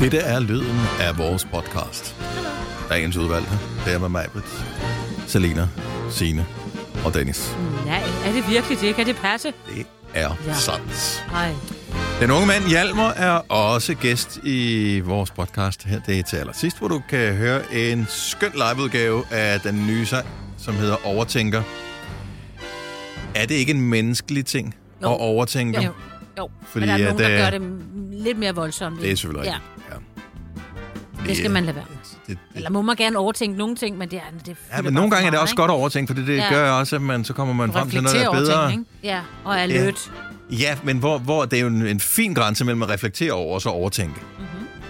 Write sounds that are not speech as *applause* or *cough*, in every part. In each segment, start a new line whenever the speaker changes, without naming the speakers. Dette er lyden af vores podcast. Der er ens udvalg her. Det er med mig, Britt, Selena, Sine og Dennis.
Nej, er det virkelig det? Kan det passe?
Det er ja.
Ja.
sandt.
Nej.
Den unge mand Hjalmar er også gæst i vores podcast her. Det er til allersidst, hvor du kan høre en skøn liveudgave af den nye sang, som hedder Overtænker. Er det ikke en menneskelig ting
Jo.
at overtænke?
Jo. Jo, Fordi
Fordi
men der er
at,
nogen, der
øh,
gør det m- lidt mere voldsomt.
Det er
ikke?
selvfølgelig
ja.
rigtigt. Ja.
Det skal man lade være med.
Det, det,
Eller må man gerne overtænke nogle ting, men det er... Det fylder
ja,
bare
men nogle
for
gange er det
meget,
også
ikke?
godt at overtænke, for det, det
Ja.
gør også, at man, så kommer man frem til noget,
Reflektere
der er
over
bedre.
ting, ikke? Ja, og er lødt.
Ja, men hvor, hvor det er jo en, en fin grænse mellem at reflektere over og så overtænke.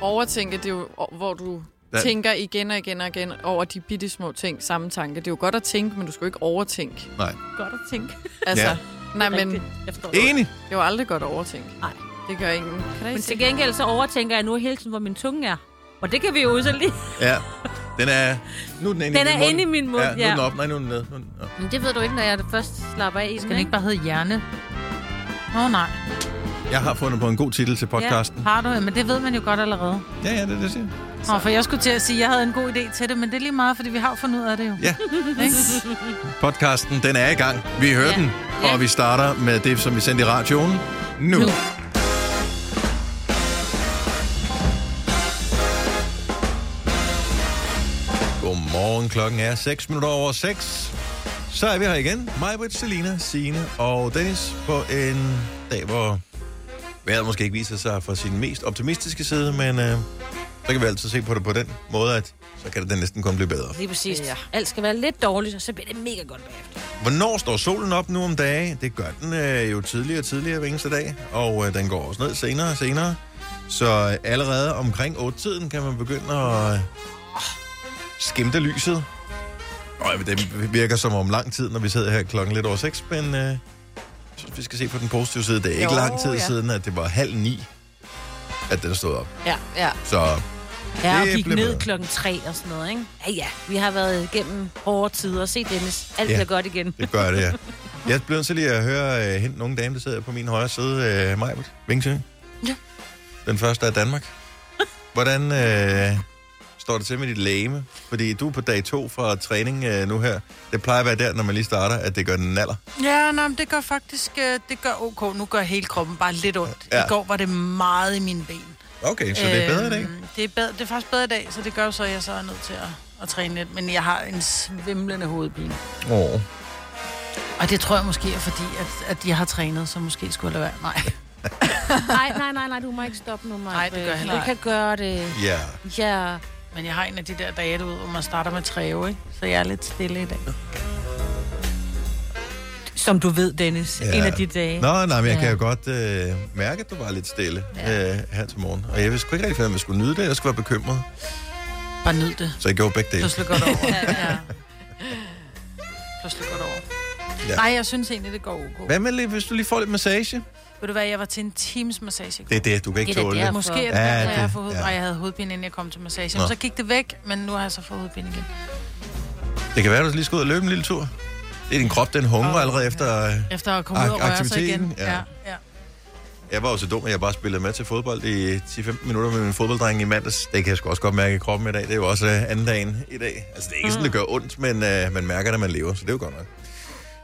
Overtænke, det er jo, o- hvor du
Ja.
ja. tænker igen og igen og igen over de bitte små ting, samme tanke. Det er jo godt at tænke, men du skal jo ikke overtænke.
Nej.
Godt at tænke.
Altså,
Ja.
ja. nej, men det
Jeg forstår det.
Enig?
er jo aldrig godt at overtænke.
Nej.
Det gør ingen. Kan der
Men
ikke
til
se?
gengæld så overtænker jeg nu hele tiden, hvor min tunge er. Og det kan vi jo udsætte lige.
Ja. Den er... Nu er den inde
Den
i
er
min mund.
inde i min mund,
Ja, nu er
ja.
den op. Nej, nu er den ned. Nu er den op.
Men det ved du ikke, når jeg først slapper af i den,
Skal den ikke
ikke?
bare hedde hjerne? Åh oh, nej.
Jeg har fundet på en god titel til podcasten.
Har du? Men det ved man jo godt allerede.
Ja, ja, det er det, jeg siger.
Nå, for jeg skulle til at sige, at jeg havde en god idé til det, men det er lige meget, fordi vi har fundet ud af det jo.
Ja.
Ikke?
*laughs* Podcasten, den er i gang. Vi hører
Ja.
den,
Ja.
og vi starter med det, som vi sendte i radioen nu. nu. Godmorgen, klokken er 6 minutter over 6. Så er vi her igen. Mig, Britt, Selina, Signe og Dennis på en dag, hvor vejret måske ikke viser sig fra sin mest optimistiske side, men øh, så kan vi altid se på det på den måde, at så kan det da næsten kun blive bedre.
Lige præcis. Ja.
Ja.
Alt skal være lidt dårligt, og så bliver det mega godt bagefter.
Hvornår står solen op nu om dagen? Det gør den øh, jo tidligere og tidligere hver eneste dag, og øh, den går også ned senere og senere. Så øh, allerede omkring 8-tiden kan man begynde at øh, skimte lyset. Og øh, det virker som om lang tid, når vi sidder her klokken lidt over 6, men øh, jeg synes, vi skal se på den positive side. Det er ikke
Jo,
lang tid
ja.
siden, at det var halv ni, at den stod op.
Ja, ja.
Så
Ja, og
Det
gik
blev
ned
bedre.
klokken tre og sådan noget, ikke? Ja, ja. Vi har været igennem hårde tider. Se, Dennis. Alt
Ja.
ja. bliver godt igen.
det gør det, ja. Jeg blev nødt til lige at høre øh, hende, nogle dame, der sidder på min højre side, øh, Majbert Vingsø.
Ja.
Den første af Danmark. Hvordan øh, står det til med dit læme? Fordi du er på dag to fra træning øh, nu her. Det plejer at være der, når man lige starter, at det gør den naller.
Ja, nej, men det gør faktisk, øh, det gør ok. Nu gør hele kroppen bare lidt ondt.
Ja.
Ja. I går var det meget i mine ben.
Okay, så det er bedre i dag.
Øhm, Det er, bedre, det er faktisk bedre i dag, så det gør jo så, at jeg så er nødt til at, at træne lidt. Men jeg har en svimlende hovedpine.
Øh. Åh.
Og det tror jeg måske er fordi, at, at jeg har trænet, så måske skulle jeg lade være. Nej.
Nej, nej, nej, nej, du må ikke stoppe nu, Maja.
Nej, det gør jeg heller
Du kan gøre det.
Ja.
Ja.
Men jeg har en af de der dage, du ved, hvor man starter med træve, ikke? Så jeg er lidt stille i dag.
Som du ved, Dennis.
Ja.
Ja. En af de dage.
Nå, nej, men jeg
Ja.
kan jo godt øh, mærke, at du var lidt stille øh, her til morgen. Og jeg vidste sgu ikke rigtig, om jeg skulle nyde det. Jeg skulle være bekymret.
Bare nyd det.
Så jeg gjorde begge dele.
Du slår
*laughs*
godt over. ja. Du slår godt over.
Ja.
Ja. Nej, jeg synes egentlig, det går ok.
Hvad med, lidt, hvis du lige får lidt massage?
Ved du hvad, jeg var til en times massage i går.
Det er det, du kan ikke
Det er da
tåle
der,
det.
hvor-
Måske er det
Ja,
ja, derfor,
det-
jeg har fået hoved...
ja.
ja. jeg havde hovedpine, inden jeg kom til massagen.
Nå.
Så gik det væk, men nu har jeg så fået hovedpine igen.
Det kan være, at du lige skal ud og løbe en lille tur. Det er din krop, den hungrer
Åh,
allerede efter... øh,
Efter at komme ud og
Ak-
røre sig igen.
aktiviteten, ja.
ja.
Jeg var jo så dum, at jeg bare spillede med til fodbold i 10-15 minutter med min fodbolddreng i mandags. Det kan jeg sgu også godt mærke i kroppen i dag. Det er jo også øh, anden dagen i dag. Altså, det er ikke sådan, det gør ondt, men øh, man mærker, det, man lever, så det er jo godt nok.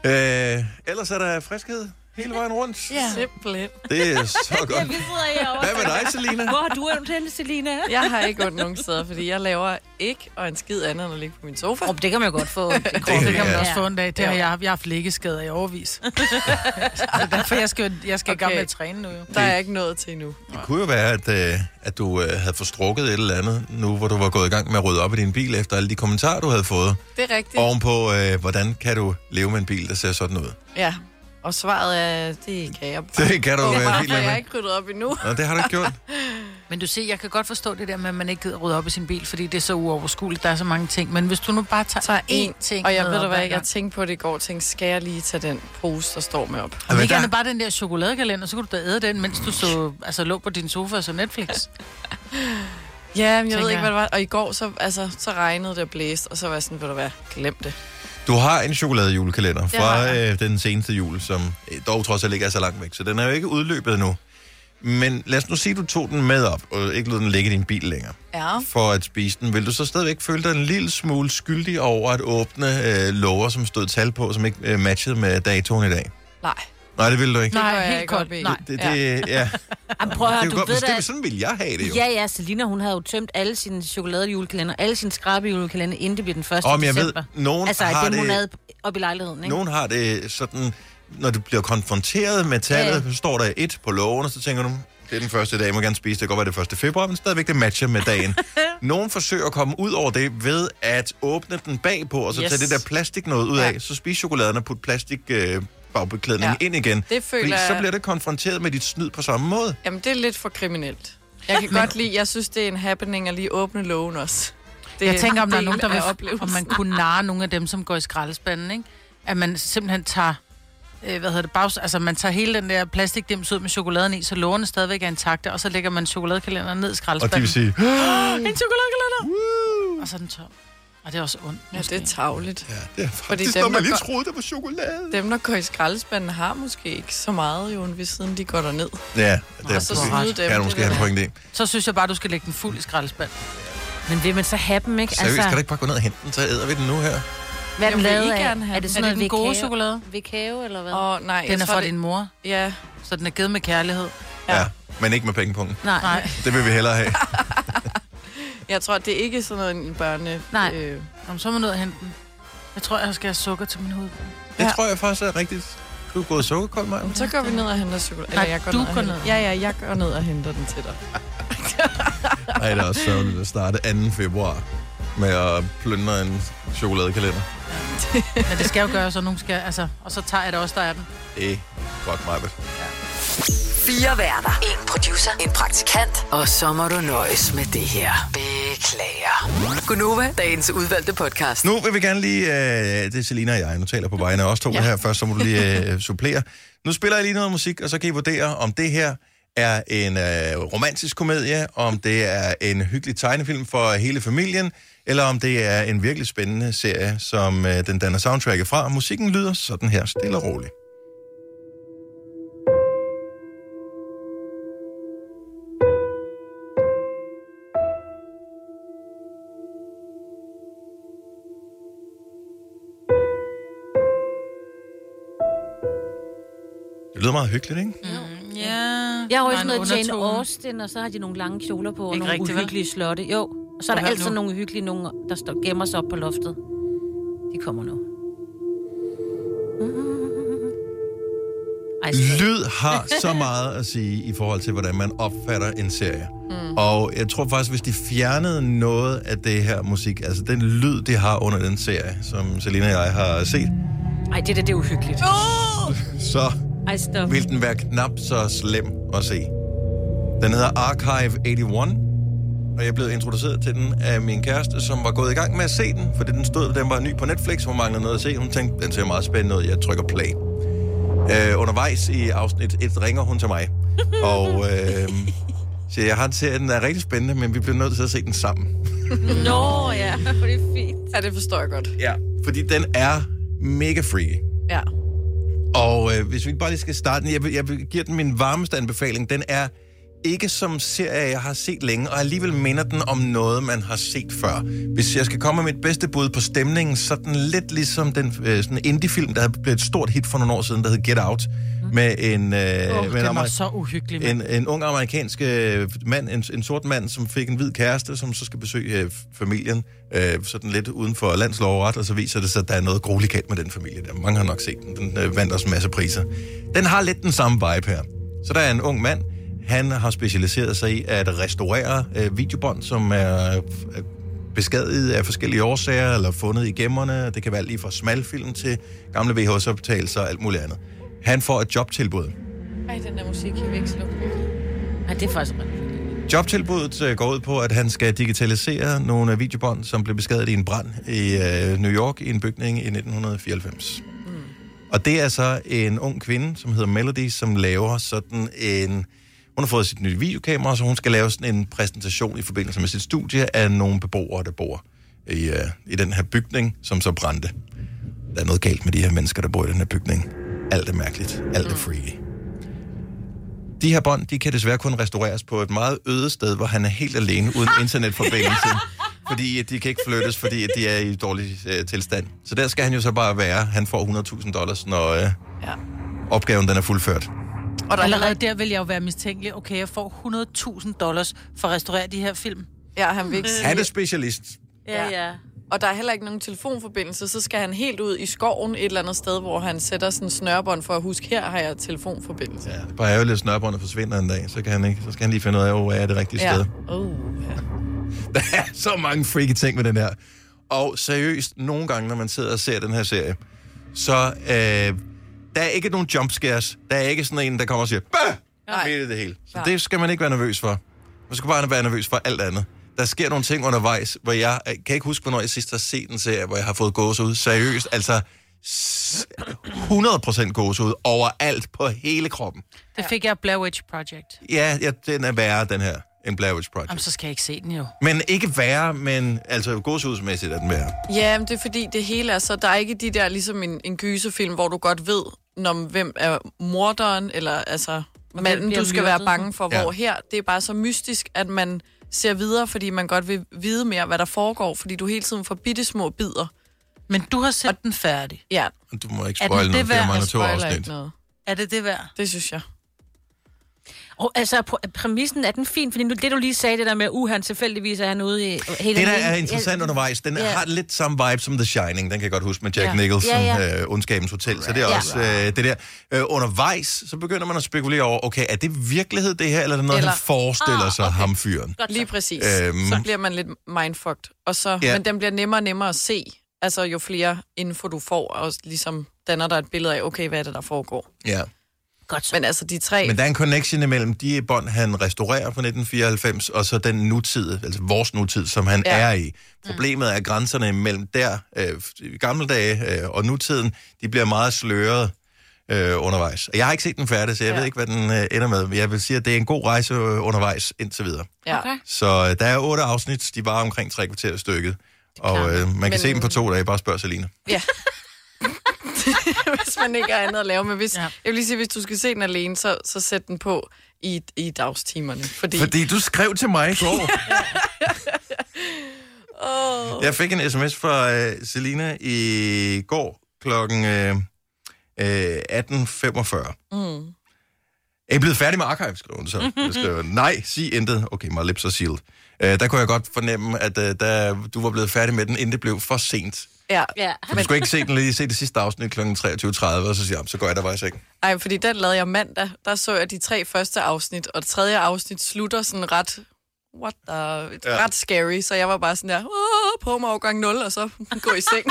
Øh, ellers er der friskhed hele vejen rundt.
Ja.
Simpelthen.
Det er så godt.
Vi sidder herovre.
Hvad med dig, Selina?
Hvor har du ondt henne, Selina?
Jeg har ikke ondt nogen steder, fordi jeg laver ikke og en skid andet end at ligge på min sofa.
Oh, det kan man jo godt få. Det
Og det kan man
Ja.
også få en dag. Det har jeg, jeg har haft liggeskader i
*laughs*
overvis. så derfor jeg skal, jeg skal okay. i gang
Okay.
med at træne nu. Jo.
Der er jeg ikke nået til endnu.
Det kunne jo være, at, øh, at du øh, havde forstrukket et eller andet, nu hvor du var gået i gang med at rydde op i din bil, efter alle de kommentarer, du havde fået,
Det er rigtigt.
ovenpå, øh, hvordan kan du leve med en bil, der ser sådan ud.
Ja. Og svaret er, det kan jeg bare.
*laughs* Det kan du
Det er
være
bare,
helt
for jeg er
med.
ikke ryddet op endnu.
Nå, det har du ikke gjort.
Men du ser, jeg kan godt forstå det der med, at man ikke gider rydde op i sin bil, fordi det er så uoverskueligt, der er så mange ting. Men hvis du nu bare tager,
tager
én ting
Og jeg
med
ved du
op
hvad,
hver
jeg
gang.
tænkte på det i går, og tænkte, skal jeg lige tage den pose, der står med op?
Og
Men
ikke
der-
andet bare den der chokoladekalender, så kunne du da æde den, mens du så, altså, lå på din sofa og så Netflix.
Ja, men jeg ved
Tænker
ikke,
jeg.
hvad det var. Og i går, så, altså, så regnede det og blæste, og så var jeg sådan, ved du hvad, glem det.
Du har en chokoladejulekalender
har
fra øh, den seneste jul, som øh, dog trods alt ikke er så langt væk, så den er jo ikke udløbet endnu. Men lad os nu sige, at du tog den med op, og ikke lod den ligge i din bil længere,
Ja.
for at spise den. Vil du så stadigvæk føle dig en lille smule skyldig over at åbne øh, lover, som stod tal på, som ikke øh, matchede med datoen i dag?
Nej.
Nej, det vil du ikke.
går
Nej,
jeg
helt
ikke op
koldt.
i.
Nej.
Det, det, ja. ja.
Jamen, prøv at høre,
det er jo
du
godt,
ved
hvis det,
da...
sådan vil jeg have det jo.
Ja, ja, Selina, hun havde jo tømt alle sine chokoladejulekalender, alle sine skrabejulekalender, inden det blev den 1.
Om jeg ved,
december.
nogen
altså,
har
det, hun
det-
havde op i lejligheden, ikke?
Nogen har det sådan, når du bliver konfronteret med tallet, ja. så står der et på loven, og så tænker du, det er den første dag, jeg må gerne spise. Det kan godt være det er 1. februar, men stadigvæk det matcher med
*laughs*
dagen. Nogen forsøger at komme ud over det ved at åbne den bagpå, og så yes.
Yes.
tage det der plastik noget ud af, så spise chokoladen og putte plastik øh, bagbeklædning ja.
Ja.
ind igen.
Det føler
Fordi så
jeg-
bliver det konfronteret med dit snyd på samme måde.
Jamen, det er lidt for kriminelt. Jeg kan godt lide, jeg synes, det er en happening at lige åbne lågen også. Det
Jeg tænker, om der er
en
nogen,
del af
der vil,
oplevelsen.
om man kunne narre nogle af dem, som går i skraldespanden, ikke? At man simpelthen tager, øh, hvad hedder det, bags, altså man tager hele den der plastikdims ud med chokoladen i, så lårene stadigvæk er intakte, og så lægger man chokoladekalenderen ned i
Og de
skraldespanden,
vil sige,
En chokoladekalender!
og så er den tom. Og det er også ondt,
Ja,
måske.
det er tavligt.
ja, det er
Fordi
faktisk,
dem,
når man
der
lige
går-
troede, der var chokolade.
Dem, der går i skraldespanden, har måske ikke så meget, jo, end hvis siden de går derned.
Ja, det
Og så
er,
snyde dem.
kan du
det
måske
vil
have en
jeg-
pointe i.
Så synes jeg bare, du skal lægge den fuld i skraldespanden.
Men vil man så have dem, ikke?
Altså-
Seriøst, kan du ikke Altså, bare gå ned og hente den, så æder vi den nu her?
hvad er den
Jeg vil
lavet
ikke
af?
gerne have
Er det
Er
sådan
det
noget
den
ved
gode
kave?
chokolade?
Ved kave, eller hvad?
Åh, nej. jeg
Den er
tror,
fra
det-
din mor,
Ja.
så den er givet med kærlighed.
Ja.
Ja.
ja men ikke med pengepunkten.
Nej.
Nej.
Det vil vi hellere
*laughs*
have.
Jeg tror, det er ikke sådan noget en børne...
Nej.
Øh,
Nå, men så er man nødt at hente den. Jeg tror, jeg skal have sukker til min hud.
Det
Ja.
tror jeg faktisk er rigtigt. Du er gået sukkerkold, Maja.
*laughs* så går vi ned og henter chokolade.
Nej,
Eller jeg går
du
ned og
går
henter-
ned.
Ja, ja, jeg går ned og henter den til dig.
Ej, det er også sørgeligt at starte 2. februar med at plyndre en chokoladekalender.
Men det skal jo gøres, og, nogen skal, altså, og så tager jeg det også, der er den.
Eh, fuck mig.
Fire værter. En producer. En praktikant. Og så må du nøjes med det her. Beklager. Gunova, dagens udvalgte podcast.
Nu vil vi gerne lige... Øh, det er Selina og jeg, nu taler jeg på vegne af os to ja. her først, så må du lige øh, *laughs* supplere. Nu spiller jeg lige noget musik, og så kan I vurdere, om det her er en øh, romantisk komedie, om det er en hyggelig tegnefilm for hele familien, eller om det er en virkelig spændende serie, som øh, den danner soundtracket fra. Musikken lyder sådan her, stille og roligt. Det lyder meget hyggeligt, ikke?
Ja.
Jeg har jo ikke sådan noget Jane Austen, og så har de nogle lange kjoler på, og
Ikke
nogle
rigtigt, vel?
uhyggelige slotte. Jo, og så er der
Prøv at høre
altid
nu.
nogle uhyggelige nogen, der står, gemmer sig op på loftet. De kommer nu. Ej, skat.
Lyd har så meget at sige i forhold til, hvordan man opfatter en serie. Mm. Og jeg tror faktisk, hvis de fjernede noget af det her musik, altså den lyd, de har under den serie, som Selina og jeg har set,
Ej, det der, det er uhyggeligt.
så
Ej, stop.
vil den være knap så slem at se. Den hedder Archive 81, og jeg blev introduceret til den af min kæreste, som var gået i gang med at se den, fordi den stod, den var ny på Netflix, hun manglede noget at se, hun tænkte, den ser meget spændende ud, jeg trykker play. Øh, undervejs i afsnit 1 ringer hun til mig, og øh, siger, jeg har en serie, den er rigtig spændende, men vi bliver nødt til at se den sammen.
Nå, ja, for det er fint.
Ja, det forstår jeg godt.
Ja. Fordi den er mega freaky.
Ja.
Og øh, hvis vi ikke bare lige skal starte den, jeg, vil, jeg vil- giver den min varmeste anbefaling. Den er ikke som serie, jeg har set længe, og alligevel minder den om noget, man har set før. Hvis jeg skal komme med mit bedste bud på stemningen, så er den lidt ligesom den øh, sådan indie-film, der blev et stort hit for nogle år siden, der hed Get Out, med
Oh,
en, øh, med en,
Mm. den var
amer-
så uhyggelig, mand.
en, en ung amerikansk øh, mand, en, en sort mand, som fik en hvid kæreste, som så skal besøge øh, familien, øh, sådan lidt uden for landslov og ret, og så viser det sig, at der er noget grueligt galt med den familie. Der. Mange har nok set den. Den øh, vandt også en masse priser. Den har lidt den samme vibe her. Så der er en ung mand, han har specialiseret sig i at restaurere øh, videobånd, som er øh, beskadiget af forskellige årsager, eller fundet i gemmerne. Det kan være lige fra smalfilm til gamle VHS-optagelser og alt muligt andet. Han får et jobtilbud.
Ej, den der musik kan vi ikke slukke.
Ej, det er faktisk
Jobtilbuddet øh, går ud på, at han skal digitalisere nogle af videobånd, som blev beskadiget i en brand i øh, New York i en bygning i 1994. Mm. Og det er så en ung kvinde, som hedder Melody, som laver sådan en... Hun har fået sit nye videokamera, så hun skal lave sådan en præsentation i forbindelse med sit studie af nogle beboere, der bor i, øh, i den her bygning, som så brændte. Der er noget galt med de her mennesker, der bor i den her bygning. Alt er mærkeligt. Alt er freaky. De her bånd, de kan desværre kun restaureres på et meget øde sted, hvor han er helt alene uden internetforbindelse. Fordi at de kan ikke flyttes, fordi at de er i dårlig øh, tilstand. Så der skal han jo så bare være. Han får 100.000 dollars, når øh,
Ja.
opgaven den er fuldført.
Og der allerede der vil jeg jo være mistænkelig. Okay, jeg får 100.000 dollars for at restaurere de her film.
Ja, han vil ikke sige.
Han er specialist.
Ja, ja.
Og der er heller ikke nogen telefonforbindelse, så skal han helt ud i skoven et eller andet sted, hvor han sætter sådan en snørbånd for at huske, her har jeg telefonforbindelse.
Ja, det er bare ærgerligt, at snørbåndet forsvinder en dag. Så, kan han ikke, så skal han lige finde ud af, hvor er det rigtige sted.
Oh, ja.
*laughs* Der er så mange freaky ting med den her. Og seriøst, nogle gange, når man sidder og ser den her serie, så øh, der er ikke nogen jumpscares. Der er ikke sådan en, der kommer og siger, Bah!
Nej.
Midt i det hele. Så
Nej.
det skal man ikke være nervøs for. Man skal bare være nervøs for alt andet. Der sker nogle ting undervejs, hvor jeg, jeg kan ikke huske, hvornår jeg sidst har set en serie, hvor jeg har fået gåsehud. Seriøst, altså s- 100% gåsehud overalt på hele kroppen.
Det fik jeg af Blair Witch Project.
Ja, ja den er værre, den her, end Blair Witch Project.
Jamen, så skal jeg ikke se den jo.
Men ikke værre, men altså gåsehudsmæssigt er den værre.
ja, men det er fordi, det hele er så... Der er ikke de der, ligesom en, en gyserfilm, hvor du godt ved, om hvem er morderen, eller altså manden,
bliver
du skal være
myrdet.
bange for,
Ja.
hvor her. Det er bare så mystisk, at man ser videre, fordi man godt vil vide mere, hvad der foregår, fordi du hele tiden får bitte små bidder.
Men du har set den færdig.
Ja,
Du må ikke
Er den
spoil
det
noget, for
værd
jeg
at
mangler to
spoiler ikke
afsnit.
noget.
Er det det værd?
Det synes jeg.
Og altså, pr- præmissen er den fin, fordi nu, det du lige sagde, det der med, uh, han tilfældigvis er han ude i... Hele
Det, der er
alene.
interessant
Ja.
undervejs, den
Ja.
har lidt samme vibe som The Shining, den kan jeg godt huske med Jack
Ja.
Nicholson,
Ja,
Øh, Undskabens Hotel, så det er
Ja.
også øh, det der. Øh, undervejs, så begynder man at spekulere over, okay, er det virkelighed det her, eller er det noget, eller...
Eller-
han forestiller
Ah,
sig, okay. ham fyren?
Godt
Lige
så.
præcis.
Øhm.
Øhm. Så bliver man lidt mindfucked. Og så,
Ja.
ja. Men den bliver nemmere og nemmere at se, altså jo flere info du får, og ligesom danner dig et billede af, okay, hvad er det, der foregår.
Ja.
Godt så.
Men altså de tre,
Men der er en connection imellem de bånd, han restaurerer fra 1994, og så den nutid, altså vores nutid, som han ja. Mm.
Ja.
er i. Problemet er grænserne imellem der, øh, i gamle dage øh, og nutiden, de bliver meget sløret øh, undervejs. Og jeg har ikke set den færdig, så jeg ja.
Ja.
ved ikke, hvad den øh, ender med. Men jeg vil sige, at det er en god rejse øh, undervejs indtil videre.
ja.
Okay.
Så øh, der er otte afsnit, de var omkring tre kvarter stykket. Og øh, man kan
Men-
se dem på to dage, bare spørg Selina.
ja. *laughs* hvis man ikke har andet at lave. Men hvis,
Ja.
ja. jeg vil lige sige, hvis du skal se den alene, så, så sæt den på i, i dagstimerne. Fordi, fordi...
Fordi du skrev til mig i går. Jeg fik en sms fra øh, Selina i går klokken øh, øh, 18.45. Mm. Er I blevet færdig med Archive, skrev hun så. Jeg skrev, nej, sig intet. Okay, my lips are sealed. Øh, der kunne jeg godt fornemme, at øh, der, du var blevet færdig med den, inden det blev for sent.
Ja.
Ja.
Du skulle ikke se den lige se det sidste afsnit kl. 23.30, og så siger jeg, "Jamen, så går jeg der vejs *laughs* ikke.
Ej, fordi den lavede jeg mandag. Der så jeg de tre første afsnit, og det tredje afsnit slutter sådan ret... What the...
Ja.
Ja. Ret scary, så jeg var bare sådan der... Åh, på mig overgang 0, og så *laughs* gå i seng.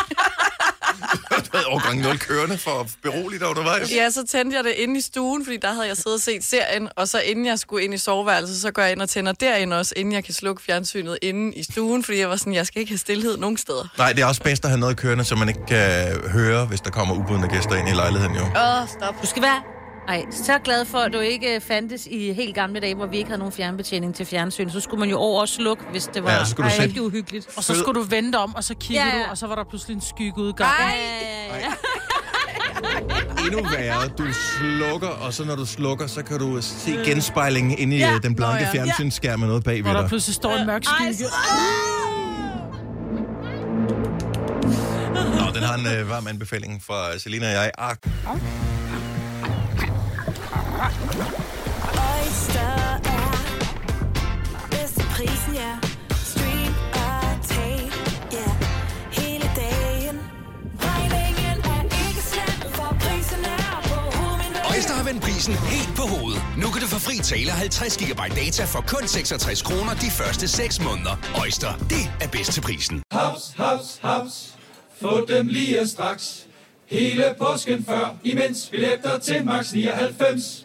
Du havde overgang 0 kørende for at berolige dig undervejs.
ja, så tændte jeg det inde i stuen, fordi der havde jeg siddet og set serien, og så inden jeg skulle ind i soveværelset, så går jeg ind og tænder derinde også, inden jeg kan slukke fjernsynet inde i stuen, fordi jeg var sådan, jeg skal ikke have stillhed nogen steder.
Nej, det er også bedst at have noget kørende, så man ikke kan høre, hvis der kommer ubudne gæster ind i lejligheden jo.
Åh, oh, stop.
Du skal være ej, så glad for, at du ikke øh, fandtes i helt gamle dage, hvor vi ikke havde nogen fjernbetjening til fjernsyn. Så skulle man jo over og slukke, hvis det var
Ja, så skulle du
ej,
sætte-
rigtig uhyggeligt.
Og så skulle du vente om, og så kiggede
Ja,
ja,
ja.
ja. du, og så var der pludselig en skyggeudgang.
Ej,
endnu værre. Du slukker, og så når du slukker, så kan du se genspejlingen inde i ja, den blanke ja. fjernsynsskærm med noget bagved
Hvor der
dig.
pludselig står en mørk
ej,
skygge.
Nå, den har en øh, varm anbefaling fra Selina og jeg. Ah. Ark.
Oyster er bedst til prisen, ja. Stream og tag, ja. Hele dagen. Regningen er ikke slem, for prisen er på
Øjster har vendt prisen helt på hovedet. Nu kan du få fri tale 50 GB data for kun 66 kroner de første 6 måneder. Øjster, det er bedst til prisen.
Haps, haps, haps. Få dem lige straks. Hele påsken før, imens billetter til max 99.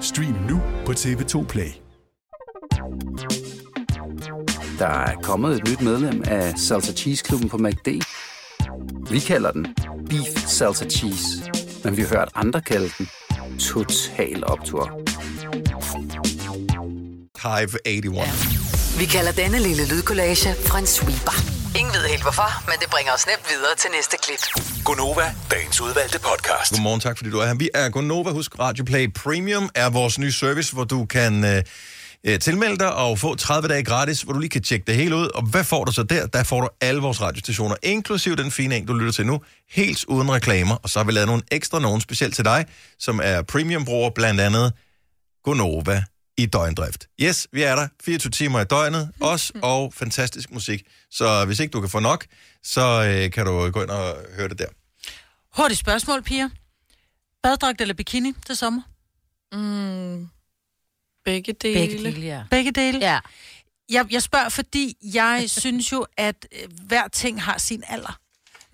Stream nu på TV2 Play.
Der er kommet et nyt medlem af Salsa Cheese Klubben på MACD. Vi kalder den Beef Salsa Cheese, men vi har hørt andre kalde den Total Optor.
Hive 81.
Vi kalder denne lille lydkollage en sweeper. Ingen ved helt hvorfor, men det bringer os nemt videre til næste klip.
Gunova, dagens udvalgte podcast.
Godmorgen, tak fordi du er her. Vi er Gonova. Husk, Radio Play Premium er vores nye service, hvor du kan øh, øh, tilmelde dig og få 30 dage gratis, hvor du lige kan tjekke det hele ud. Og hvad får du så der? Der får du alle vores radiostationer, inklusive den fine en, du lytter til nu, helt uden reklamer. Og så har vi lavet nogle ekstra nogen specielt til dig, som er premiumbruger, blandt andet Gonova i døgndrift. Yes, vi er der 24 timer i døgnet, os og fantastisk musik. Så hvis ikke du kan få nok, så øh, kan du gå ind og høre det der.
Hurtigt spørgsmål, piger. Baddragt eller bikini til sommer?
Mm, begge dele.
Begge dele, ja. Begge dele? Ja. Jeg, jeg spørger, fordi jeg synes jo, at øh, hver ting har sin alder.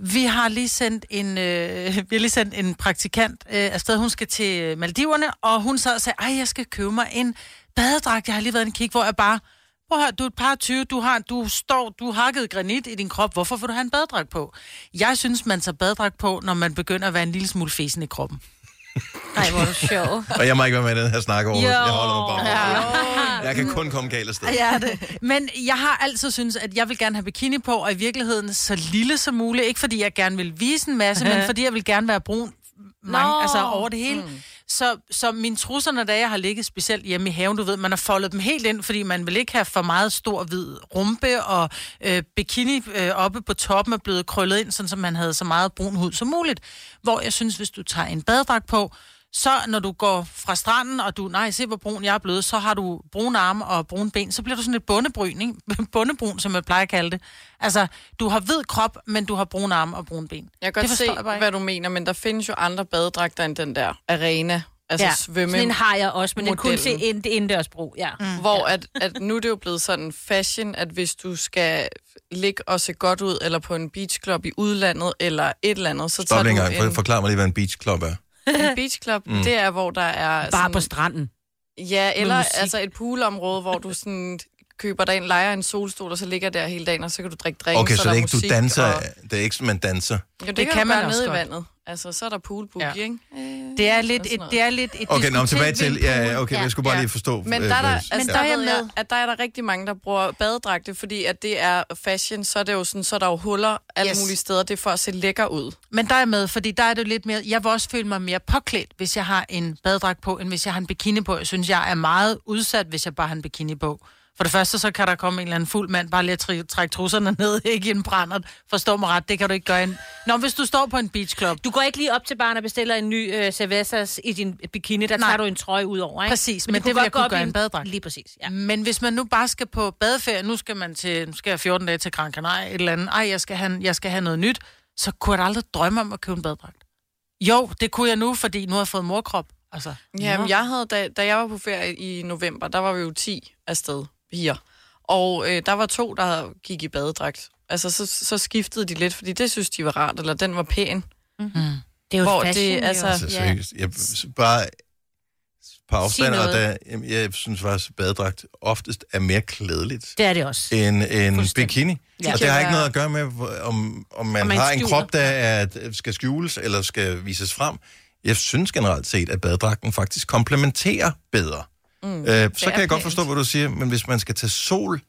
Vi har lige sendt en, øh, vi har lige sendt en praktikant øh, afsted. Hun skal til øh, Maldiverne, og hun sad og sagde, ej, jeg skal købe mig en badedragt. Jeg har lige været i en kig, hvor jeg bare, prøv at høre, du er et par 20, du, har, du står, du har hakket granit i din krop. Hvorfor får du have en badedragt på? Jeg synes, man tager badedragt på, når man begynder at være en lille smule fesen i kroppen.
Nej, hvor er du sjov.
Og jeg må ikke være med i den her snak over.
Jo.
Jeg holder mig bare.
Ja.
Jeg kan kun komme galt af sted.
Ja, det. Men jeg har altid synes at jeg vil gerne have bikini på, og i virkeligheden så lille som muligt. Ikke fordi jeg gerne vil vise en masse, men fordi jeg vil gerne være brun mange,
Nå.
altså over det hele.
Mm.
Mm. Så, så mine trusser, når da jeg har ligget specielt hjemme i haven, du ved, man har foldet dem helt ind, fordi man vil ikke have for meget stor hvid rumpe, og øh, bikini øh, oppe på toppen er blevet krøllet ind, sådan som man havde så meget brun hud som muligt. Hvor jeg synes, hvis du tager en badedragt på, så når du går fra stranden, og du, nej, se hvor brun jeg er blevet, så har du brune arme og brune ben, så bliver du sådan et bundebryn, ikke? *laughs* bundebrun, som man plejer at kalde det. Altså, du har hvid krop, men du har brune arme og brune ben.
Jeg kan
Det
godt se,
forstår jeg bare ikke.
hvad du mener, men der findes jo andre badedragter end den der arena. Altså ja. svømme.
Sådan en har jeg også, men den kunne til
modellen.
ind, indendørsbrug, ja. Mm.
Hvor at, at nu er det jo blevet sådan fashion, at hvis du skal ligge og se godt ud, eller på en beachclub i udlandet, eller et eller andet, så
Stop lige
tager
en
du
gang. For,
en,
forklar mig lige, hvad en beach club er.
en beachclub.
Mm.
Mm. Det er, hvor der er...
Bare på stranden.
Ja,
Med
eller
musik.
altså et poolområde, hvor du sådan køber dig en lejer en solstol, og så ligger der hele dagen, og så kan du drikke drinks,
Okay,
og
så det
der
er ikke, du
musik,
danser.
Og...
Det er ikke, sådan, man danser.
Jo, det,
Det
det kan,
kan
kan
man
man gøre
også
nede i
godt.
vandet. Altså, så er der poolboogie,
Ja.
ja. ikke? Øh,
Det er lidt
og
et,
sådan noget.
det er lidt et
Okay, nå, men tilbage
diskotek
til...
ved en
Ja,
pool.
okay, men jeg skulle bare lige forstå...
Men
øh,
der, er der,
hvad-
altså,
ja.
der, er med. at der er der rigtig mange, der bruger badedragte, fordi at det er fashion, så er, det jo sådan, så er der jo huller alle
Yes.
yes. mulige steder. Det er for at se lækker ud.
Men der er jeg med, fordi der er det jo lidt mere... Jeg vil også føle mig mere påklædt, hvis jeg har en badedragt på, end hvis jeg har en bikini på. Jeg synes, jeg er meget udsat, hvis jeg bare har en bikini på. For det første, så kan der komme en eller anden fuld mand, bare lige at tri- trække trusserne ned, *laughs* ikke i en brændert. Forstå mig ret, det kan du ikke gøre. En... Nå, hvis du står på en beachclub.
Du går ikke lige op til baren og bestiller en ny øh, cervezas i din bikini, der Nej.
Nej.
tager du en trøje ud over, ikke?
Præcis,
du
men, men
kunne
det vil
godt
jeg
gå
kunne
op i
gøre i en badedragt. Mm.
Lige præcis, ja.
Men hvis man nu bare skal på badeferie, nu skal man til, nu skal jeg 14 dage til Gran Canaria, et eller andet, ej, jeg skal, have, jeg skal have noget nyt, så kunne jeg da aldrig drømme om at købe en badedragt. Jo, det kunne jeg nu, fordi nu har jeg fået morkrop. Altså,
Jamen,
nå.
jeg havde, da, da jeg var på ferie i november, der var vi jo 10 afsted, piger. Og øh, der var to, der havde- gik i badedragt. Altså, så, så skiftede de lidt, fordi det synes de var rart, eller den var pæn.
Mm-hmm. Det er jo
Hvor
fashion,
det,
jo.
altså,
Altså, seriøst. Jeg s- bare på afstand, og
noget.
der, jamen, jeg synes faktisk, at badedragt oftest er mere klædeligt
Det er det også.
end en bikini.
Ja.
Ja. Og
Det
det
kan
har ikke
være-
noget at gøre med, hvor- om, om man,
Om
man
man
har en
skjuler.
krop, der er, skal skjules eller skal vises frem. Jeg synes generelt set, at badedragten faktisk komplementerer bedre.
Mm,
Øh, så kan jeg godt forstå, hvad du siger, men hvis man skal tage sol...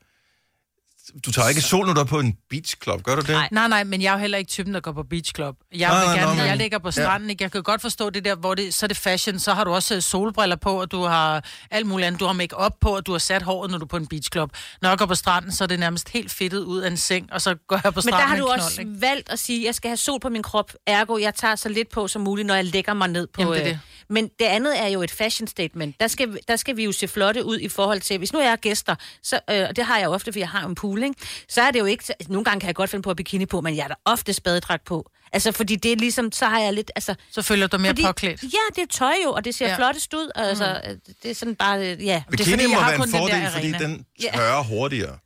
Du tager ikke sol, når du er på en beachclub, gør du det?
Nej, nej, men jeg er jo heller ikke typen, der går på beachclub. Jeg, nej,
Nej,
vil
nej,
gerne,
nå, men-
jeg ligger på stranden, ikke? Jeg kan godt forstå det der, hvor det, så er det fashion, så har du også øh, solbriller på, og du har alt muligt andet. Du har make op på, og du har sat håret, når du er på en beachclub. Når jeg går på stranden, så er det nærmest helt fedtet ud af en seng, og så går jeg på
Men
stranden
der har
med
du
en knold,
også
ikke?
valgt at sige, at jeg skal have sol på min krop, ergo jeg tager så lidt på som muligt, når jeg lægger mig ned på...
Jamen, det er
øh,
det.
Men det andet er jo et fashion statement. Der skal, der skal vi jo se flotte ud i forhold til, hvis nu jeg er gæster, så, øh, og det har jeg jo ofte, fordi jeg har jo en pool, ikke? så er det jo ikke... Nogle gange kan jeg godt finde på at bikini på, men jeg er da ofte spadedragt på. Altså, fordi det er ligesom, så har jeg lidt... Altså,
så føler du dig mere påklædt.
Ja, det er tøj jo, og det ser ja.
Ja.
flottest ud. og Altså, mm. Det er sådan bare... øh, Ja,
Bikini
det er,
må
jeg har
være en
kun den
fordel,
der
fordi
arena.
den
Ja.
tørrer hurtigere.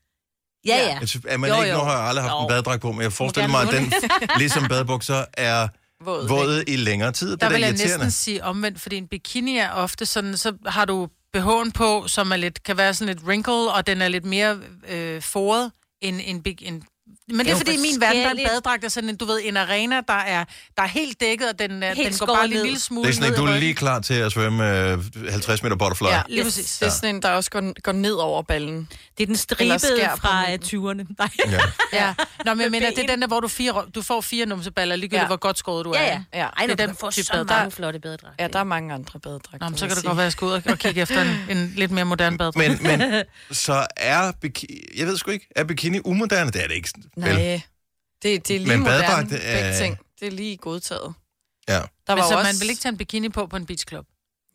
Ja, ja.
Altså, er man jo, ikke, nu har jeg aldrig haft jo. en badedragt på, men jeg forestiller mig, at
gerne
den,
låne.
ligesom badebukser, er
våd.
våde i længere tid. Det
Der
er da
vil jeg
irriterende.
næsten sige omvendt, fordi en bikini er ofte sådan, så har du BH'en på, som er lidt, kan være sådan lidt wrinkle, og den er lidt mere øh, foret end en big... En, men det er,
Jo,
fordi i min verden, der er en
forskelligt.
badedragt, er sådan en, du ved, en arena, der er, der er helt dækket, og den, er-
Helt
den går bare
skåret
lige en
ned.
lille smule
Det er sådan,
ned
at
i
du er
ryggen.
lige klar til at svømme øh, 50 meter butterfly.
Ja,
Lige præcis. Det er sådan en, der også går, går ned over ballen.
Det er den
Eller skær
stribede
på
fra øh, 20'erne. Nej.
Ja.
Ja. Nå, men jeg mener, det er den der, hvor du, fire, du får fire numseballer, ligegyldigt
Ja.
hvor godt skåret du er.
*laughs* Ja, ja.
Ja,
Ej, nu
det er
kan
den
du få
type
så
bad.
mange
Der-
flotte badedragter.
Ja, der er mange andre badedragter.
Nå, men så
vil
kan det
jeg
godt være, at jeg
sige.
skal ud og, og kigge efter en, en lidt mere moderne badedragt.
Men,
*laughs*
men så er bikini... Jeg ved sgu ikke, er bikini umoderne? Det er det ikke. vel?
Nej, det, det er lige
Men
men moderne,
badedragt,
begge
øh,
ting. Det er lige godtaget.
Ja.
Der
Der
var
men så også...
jo også-
man vil ikke tage en bikini på på en beachclub?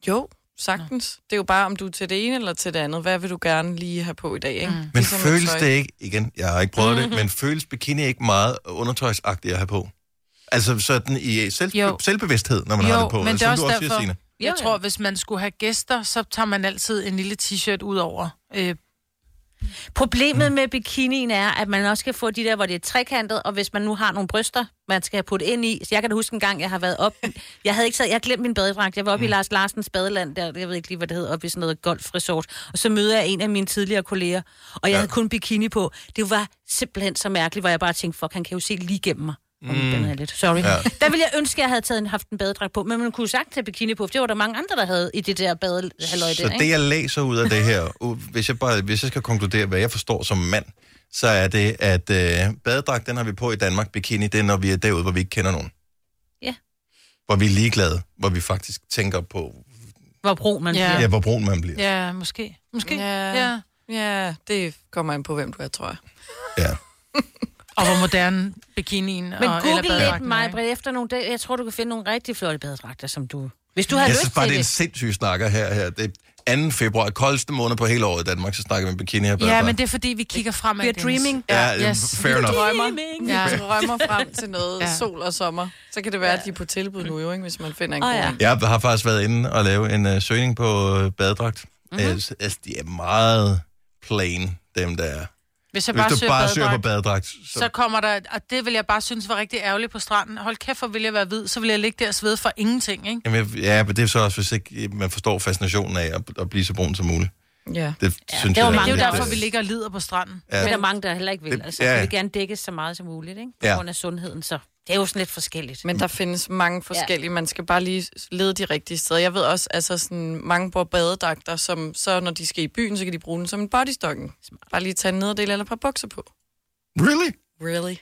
Jo, sagtens. Det er jo bare, om du er til det ene eller til det andet. Hvad vil du gerne lige have på i dag, ikke? Mm.
Men
ligesom
føles det ikke... Igen, jeg har ikke prøvet
Mhm.
det, men føles bikini ikke meget undertøjsagtigt at have på? Altså sådan i selv,
Jo.
selvbevidsthed, når man har det på.
men det
som
er
du
også
siger,
derfor,
Signe.
jeg tror, hvis man skulle have gæster, så tager man altid en lille t-shirt ud over. Øh,
Problemet med bikinien er, at man også kan få de der, hvor det er trekantet, og hvis man nu har nogle bryster, man skal have puttet ind i. Så jeg kan da huske en gang, jeg har været op. Jeg havde ikke taget, jeg havde glemt min badedragt. Jeg var oppe mm. i Lars Larsens badeland, der, jeg ved ikke lige, hvad det hedder, oppe i sådan noget golfresort. Og så møder jeg en af mine tidligere kolleger, og jeg ja. havde kun bikini på. Det var simpelthen så mærkeligt, hvor jeg bare tænkte, fuck, han kan jo se lige igennem mig. Mm. Den er lidt, sorry.
Ja.
Ja. Der ville jeg ønske, at jeg havde taget en, haft en badedragt på, men man kunne sagt tage bikini på, for det var der mange andre, der havde i det der badehalløj.
Så det, jeg læser ud af det her, u- hvis jeg, bare, hvis jeg skal konkludere, hvad jeg forstår som mand, så er det, at øh, badedragt, den har vi på i Danmark. Bikini, det er, når vi er derude, hvor vi ikke kender nogen.
Ja.
Hvor vi er ligeglade. Hvor vi faktisk tænker på,
Hvor brun man
ja,
bliver.
ja hvor brun man bliver.
Ja, måske. Måske.
Ja. ja. ja, det kommer an på, hvem du er, tror jeg.
og hvor moderne bikinien
Men
og, eller
google lidt
badedragten er,
mig,
ikke?
efter nogle dage. Jeg tror, du kan finde nogle rigtig flotte badedragter, som du... Hvis du har
jeg
lyst
synes bare,
til
det er en
det.
sindssyg snakker her. her. Det er 2. februar, koldeste måned på hele året i Danmark, så snakker vi om bikini og
Ja,
badedragt.
men det er fordi, vi kigger fremad.
Vi er dreaming.
Ja, fair
Vi
enough.
Dreaming. Ja. Drømmer frem til noget
Ja.
ja. sol og sommer. Så kan det være, at de er på tilbud nu, jo, ikke, hvis man finder en
Åh,
god.
ja.
ja.
Jeg har faktisk været inde og lave en uh, søgning på uh, badedragt. Mm-hmm. Altså, altså, de er meget plain, dem der er.
Hvis jeg
Hvis
bare,
du
søger,
bare
badedragt,
søger på badedragt, så-
så... så kommer der, og det vil jeg bare synes var rigtig ærgerligt på stranden. Hold kæft, hvor vil jeg være hvid, så vil jeg ligge der og svede for ingenting, ikke?
Jamen, jeg- ja, men det er så også, hvis ikke øh, man forstår fascinationen af at, at blive så brun som muligt.
Ja.
Det ja, synes
det, er jo
jeg
mange, det er jo
lidt,
derfor,
øh,
vi ligger og lider på stranden.
Ja.
Ja. Det er der mange, der heller ikke vil.
Det-
Altså,
ja.
ja. vil gerne dække så meget som muligt, ikke? På
Ja.
ja. grund af sundheden, så det er jo sådan lidt forskelligt.
Men der findes mange forskellige. Man skal bare lige lede de rigtige steder. Jeg ved også, altså sådan, mange bruger badedragter, som så når de skal i byen, så kan de bruge den som en bodystokken. Bare lige tage en nederdel eller et par bukser på.
Really?
Really?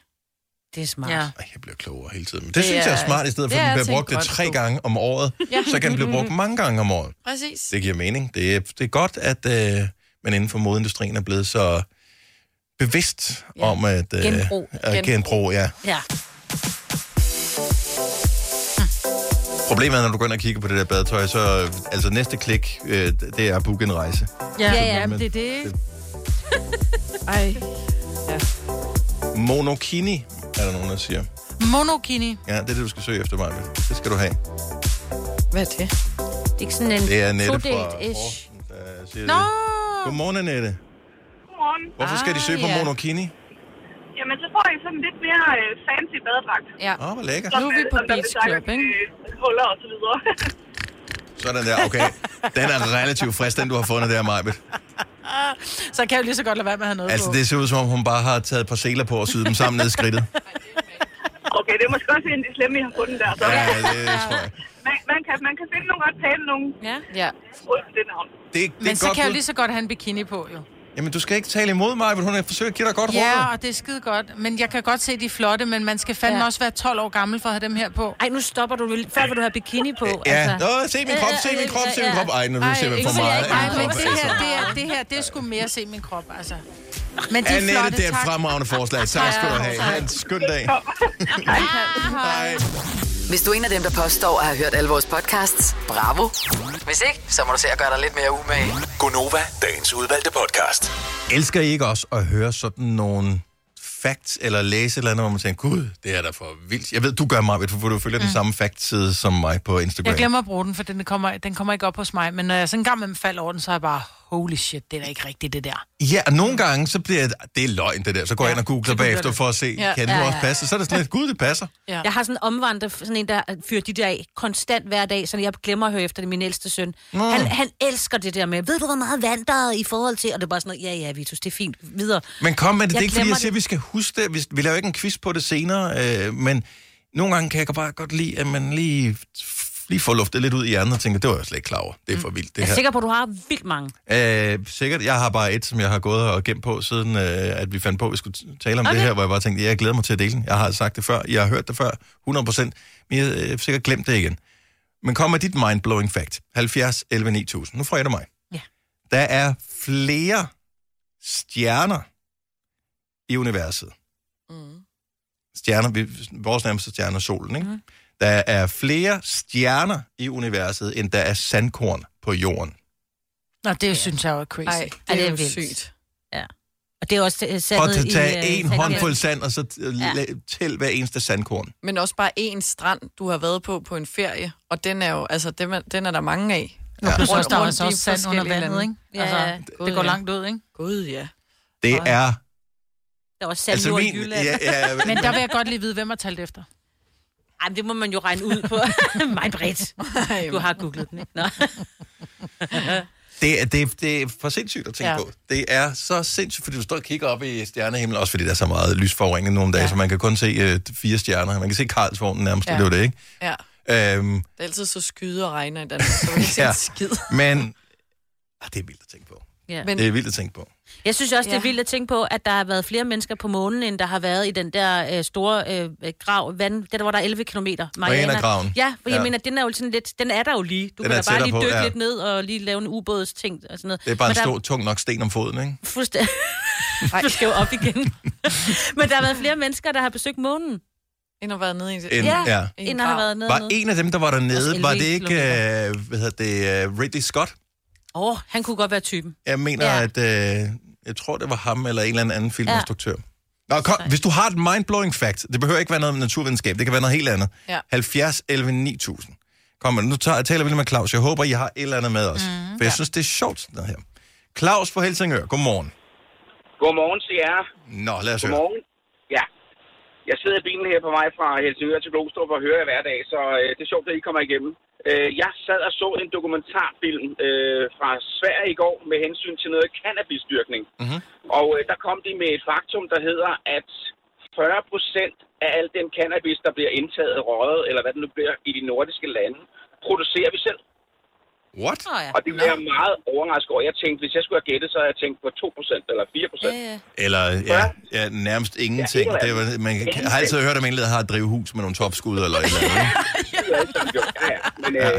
Det er smart.
Ja.
Jeg bliver klogere hele tiden. Men
Det
det, det synes jeg er
er-
smart, i stedet for
det
at
er til
den bliver
en
brugt det
grøn
tre
skole.
gange om året,
Ja.
så kan den blive brugt mange gange om året.
Præcis.
Det giver mening. Det er, det er godt, at øh, man inden for modindustrien er blevet så bevidst ja. om at... Øh,
Genbrug.
At genbrug, ja. Hm.
Ja.
Problemet er, når du går ind og kigger på det der badetøj, så øh, altså næste klik, øh, det er at booke en rejse.
Ja,
Så
ja, ja
man-
men det er det.
Ej.
Monokini, er der nogen, der siger.
Monokini.
Ja, det er det, du skal søge efter, mig. Det skal du have.
Hvad er det?
Det er ikke sådan en
Det er Annette fra
todelt-ish.
Jeg siger
Nå!
det. Godmorgen, Annette.
Godmorgen.
Hvorfor skal de søge på monokini?
Jamen, så får I sådan lidt mere øh, fancy badedragt.
Ja.
Åh, hvor lækkert.
Som,
Nu er vi
øh,
på
som der
Beach
bliver sagt,
Club, ikke?
øh, Huller og så videre.
Sådan der, okay. Den er relativt frisk, den du har fundet der, Majbet.
Så kan jeg jo lige så godt lade være med at have noget
Altså,
på.
det ser ud som om, hun bare har taget et par seler på og syet dem sammen ned i skridtet.
okay, det er måske også en af de slemme, I har fundet der. Så.
Ja, det tror jeg.
Man, man, kan, man kan finde nogle ret pæne nogle.
Ja. ja.
Ud til det navn.
Det, det
Men
er
så
godt
kan jeg jo
bud.
lige så godt have en bikini på, jo.
Jamen, du skal ikke tale imod mig, men hun er forsøgt at give dig godt
Ja, altså.
råd.
og det er skide godt. Men jeg kan godt se, de er flotte, men man skal fandme ja. også være 12 år gammel for at have dem her på.
Ej, nu stopper du. vel- Før vil du have bikini på. altså.
Ja, Nå, se min krop, se min krop, se min krop. Ej, nu ser man for meget af
Nej,
min
men
krop,
det her,
altså.
det, er, det her, det er sgu mere se min krop, altså. Men de er flotte,
Annette, det er et
tak.
fremragende forslag. Tak skal du have. Ha' en skøn dag. Hej.
Hvis du er en af dem, der påstår at have hørt alle vores podcasts, bravo. Hvis ikke, så må du se at gøre dig lidt mere umage.
Gonova, dagens udvalgte podcast.
Elsker I ikke også at høre sådan nogle facts, eller læse et eller andet, hvor man tænker, gud, det er da for vildt. Jeg ved, du gør mig, for du følger mm. den samme factside som mig på Instagram.
Jeg glemmer at bruge den, for den kommer, den kommer ikke op hos mig. Men når jeg er sådan en gang med falder over den, så er jeg bare... holy shit, det er da ikke rigtigt, det der.
Ja, og nogle gange, så bliver det, det er løgn, det der. Så går jeg ind og googler
så googler
bagefter
det.
for at se,
Ja.
ja. kan det
Ja,
nu
ja,
også
ja.
passe? Så er det sådan lidt, gud, det passer.
Ja. Jeg har sådan en omvandrer, sådan en, der fyrer de der af konstant hver dag, så jeg glemmer at høre efter det, min ældste søn. Mm. Han, han elsker det der med, ved du, hvor meget vand der er i forhold til? Og det er bare sådan noget, ja, ja, Vitus, det er fint, videre.
Men kom med det, det er
Jeg
ikke fordi, jeg
glemmer
siger, at vi skal huske det. Vi, vi laver ikke en quiz på det senere, øh, men nogle gange kan jeg bare godt lide, at man lige, lige får luftet lidt ud i hjernen og tænker, det var jeg slet ikke klar over. Det er for vildt, det
Jeg er
her.
sikker på, at du har vildt mange.
Øh, sikkert. Jeg har bare et, som jeg har gået og gemt på, siden øh, at vi fandt på, at vi skulle t- tale om okay. det her, hvor jeg bare tænkte, ja, jeg glæder mig til at dele den. Jeg har sagt det før, jeg har hørt det før, 100%, men jeg har øh, sikkert glemt det igen. Men kom med dit mind-blowing fact. 70 11 9000. Nu får jeg det mig.
Ja.
Der er flere stjerner i universet. Mm. Stjerner, vi, vores nærmeste stjerne er solen, ikke? Mm. Der er flere stjerner i universet, end der er sandkorn på jorden.
Nå, det ja. synes jeg jo er crazy.
Ej, det er jo sygt.
Ja. Og det er også øh,
For
sandet
at tage
i...
en
øh,
håndfuld sand, og så ja.
Ja.
tæl hver eneste sandkorn.
Men også bare én strand, du har været på på en ferie, og den er jo, altså, den er, den er der mange af.
Ja. Plus også, der er
Rundt-
altså
rundt i
også sand under
forskellige
vandet,
lande.
ikke?
Ja,
altså,
ja.
det går langt ud, ikke?
Gud, ja.
Det er...
Der er også sand
Altså,
altså, i
min-
Jylland.
ja,
*laughs*
ja, ja.
Men der vil jeg godt lige vide, hvem har talt efter.
Ej, men det må man jo regne ud
*laughs*
på. Mig bredt. Du har googlet den, ikke? Nå.
Det er, det, er, det er for sindssygt at tænke
Ja.
ja. på. Det er så sindssygt, fordi du står og kigger op i stjernehimlen, også fordi der er så meget lysforurening nogle dage, ja. så man kan kun se øh, fire stjerner. Man kan se Karlsvognen nærmest, ja. det er jo det, ikke?
Ja.
Øhm,
Det er altid så skyde og regner i Danmark,
*laughs*
så vi kan ja.
Ja.
skid.
men ah, det er vildt at tænke på.
Ja.
Men, det er vildt at tænke på.
Jeg synes også, det er
Ja.
vildt at tænke på, at der har været flere mennesker på månen, end der har været i den der øh, store øh, øh, grav, vand, den der, hvor der er 11 km.
Mariana-graven.
Ja, for jeg
Ja.
mener, den er jo sådan lidt, den er der jo lige. Du
Den
kan
er
da bare
tættere
lige
på,
dykke
ja.
lidt ned og lige lave en ubådsting og sådan noget.
Det er bare
Men
en
der-
stor, tung nok sten om foden, ikke?
Fuldstændig. Du skal jo op igen. *laughs* Men der har været flere mennesker, der har besøgt månen.
End at have været nede i det.
End-
ja,
ja.
end at have været nede.
Var en af dem, der var
Også
dernede,
11
var det ikke
kilometer.
øh, hvad hedder det, øh, Ridley Scott?
Åh, oh, han kunne godt være typen.
Jeg mener, ja. at øh, jeg tror, det var ham eller en eller anden anden filminstruktør. Nå, kom, hvis du har et mind-blowing fact, det behøver ikke være noget med naturvidenskab, det kan være noget helt andet.
Ja.
70 11 9000. Kom, men nu tager, taler vi lidt med Claus. Jeg håber, I har et eller andet med
Mhm.
os. Mm, for jeg ja. synes, det er sjovt, sådan noget her. Claus fra Helsingør, godmorgen.
Godmorgen til jer.
Nå, lad os høre.
Godmorgen. Ja. Jeg sidder i bilen her på vej fra Helsingør til Glostrup og hører jer hver dag, så øh, det er sjovt, at I kommer igennem. Øh, jeg sad og så en dokumentarfilm øh, fra Sverige i går med hensyn til noget cannabisdyrkning.
Mhm.
Mm-hmm.
Og øh, der kom de med et faktum, der hedder, at 40 procent af al den cannabis, der bliver indtaget, røget, eller hvad det nu bliver, i de nordiske lande, producerer vi selv.
What?
Oh, ja.
Og det blev jeg meget overrasket over. Jeg tænkte, hvis jeg skulle have gættet, så havde jeg tænkt på 2% eller 4%.
Ja, ja.
Eller ja, ja, nærmest ingenting.
eller
Ja, det
andet.
var, man kan,
Ingenting.
har altid hørt om en, der har et drivhus med nogle topskud eller et eller andet. ikke? *laughs*
Men øh,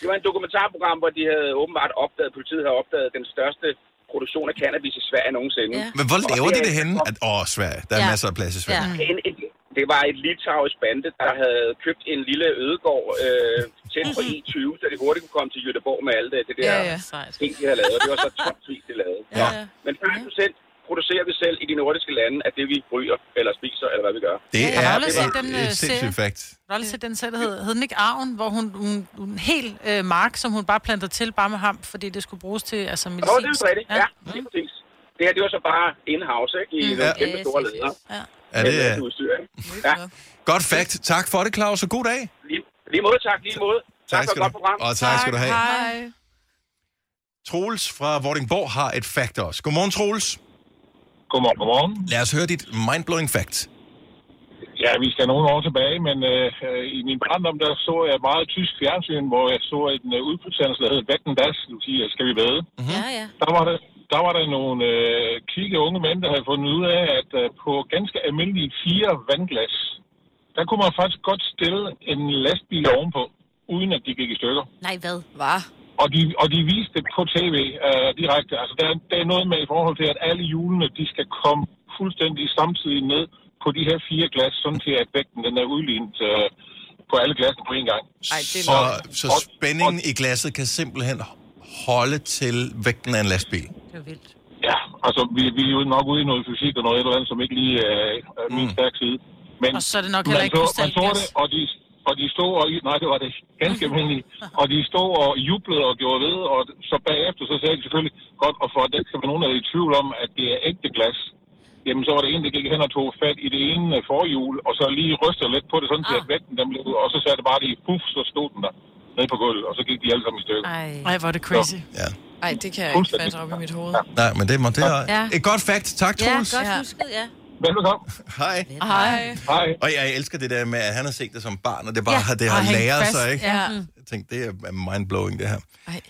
det var en dokumentarprogram, hvor de havde åbenbart opdaget, politiet havde opdaget den største produktion af cannabis i Sverige nogensinde. Ja.
Men hvor laver de det henne? At, åh, Sverige. Der er
Ja.
masser af plads i Sverige. Ja.
En, en, det var et litauisk bande, der havde købt en lille ødegård øh, tæt på E20, så de hurtigt kunne komme til Göteborg med alt det, det der
Ja, ja.
ting, de havde lavet. Og det var så topsvis, de lavede.
Ja.
Men 40 procent producerer vi selv i de nordiske lande af det, vi ryger eller spiser, eller hvad vi gør.
Det
Har du
er
aldrig set den, øh,
et
serie?
sindssygt fakt.
Har du aldrig set den selv, der hed, hed den ikke Arven, hvor hun, hun, hun en hel øh, mark, som hun bare planter til, bare med ham, fordi det skulle bruges til altså,
Nå,
medicin.
det er jo rigtigt. Ja, lige præcis. Det her, det var så bare in-house, ikke? I
Mm.
nogle
Ja.
kæmpe store ledere.
Ja.
Ja, det er-
Med udstyr, ikke? Ja.
Godt fakt. Tak for det, Claus, og god dag.
Lige, lige måde, tak. Lige måde. Tak, tak for et
skal
godt
du-
program.
og tak skal du have.
Hej.
Troels fra Vordingborg har et fact også. Godmorgen, Troels.
Godmorgen, godmorgen.
Lad os høre dit mind-blowing fact.
Ja, vi skal nogle år tilbage, men øh, øh, i min barndom, der så jeg meget tysk fjernsyn, hvor jeg så en øh, udbudssendelse, der hed Vægten Das, Lucia, skal vi væde.
Ja, ja.
Mhm.
Der var der, der, var der nogle øh, kvikke unge mænd, der havde fundet ud af, at øh, på ganske almindelige fire vandglas, der kunne man faktisk godt stille en lastbil ovenpå, uden at de gik i stykker.
Nej, hvad?
Var.
Og de, og de viste det på tv øh, direkte. Altså, der, er- der er noget med i forhold til, at alle hjulene, de skal komme fuldstændig samtidig ned på de her fire glas, sådan til at vægten den er udlignet øh, på alle glassene på en gang.
Ej,
Så, så spændingen i glasset kan simpelthen holde til vægten af en lastbil.
Ja, altså, vi, vi er jo nok ude i noget fysik og noget et eller andet, som ikke lige øh, er min stærke side. Men
Og så er det nok
man
heller ikke
så, man så
krystalglas.
det, og de, og de stod og... Nej, det var det ikke. ganske almindelige. Og de stod og jublede og gjorde ved, og så bagefter så sagde de selvfølgelig, godt, og for at der ikke skal være nogen, der er i tvivl om, at det er ægte glas, jamen så var det en, der gik hen og tog fat i det ene øh, forhjul, og så lige rystede lidt på det, sådan
Ah.
til at vægten den blev, og så sagde det bare lige, puff, så stod den der nede på gulvet, og så gik de alle sammen i
Ah.
stykker.
Ej, hvor er det crazy.
Ja.
Ej, det kan jeg ikke fatte op i mit hoved.
Nej, men det, må, det er
Ja.
ja. et godt fact. Tak, Troels.
husket, ja.
Velbekomme. Hej.
Hej.
Hej. Og jeg elsker det der med, at han har set det som barn, og det er bare ja, det
og
har
hængt
læret
fast.
sig, ikke?
Ja.
Jeg tænkte, det er mindblowing, det her.
Ej.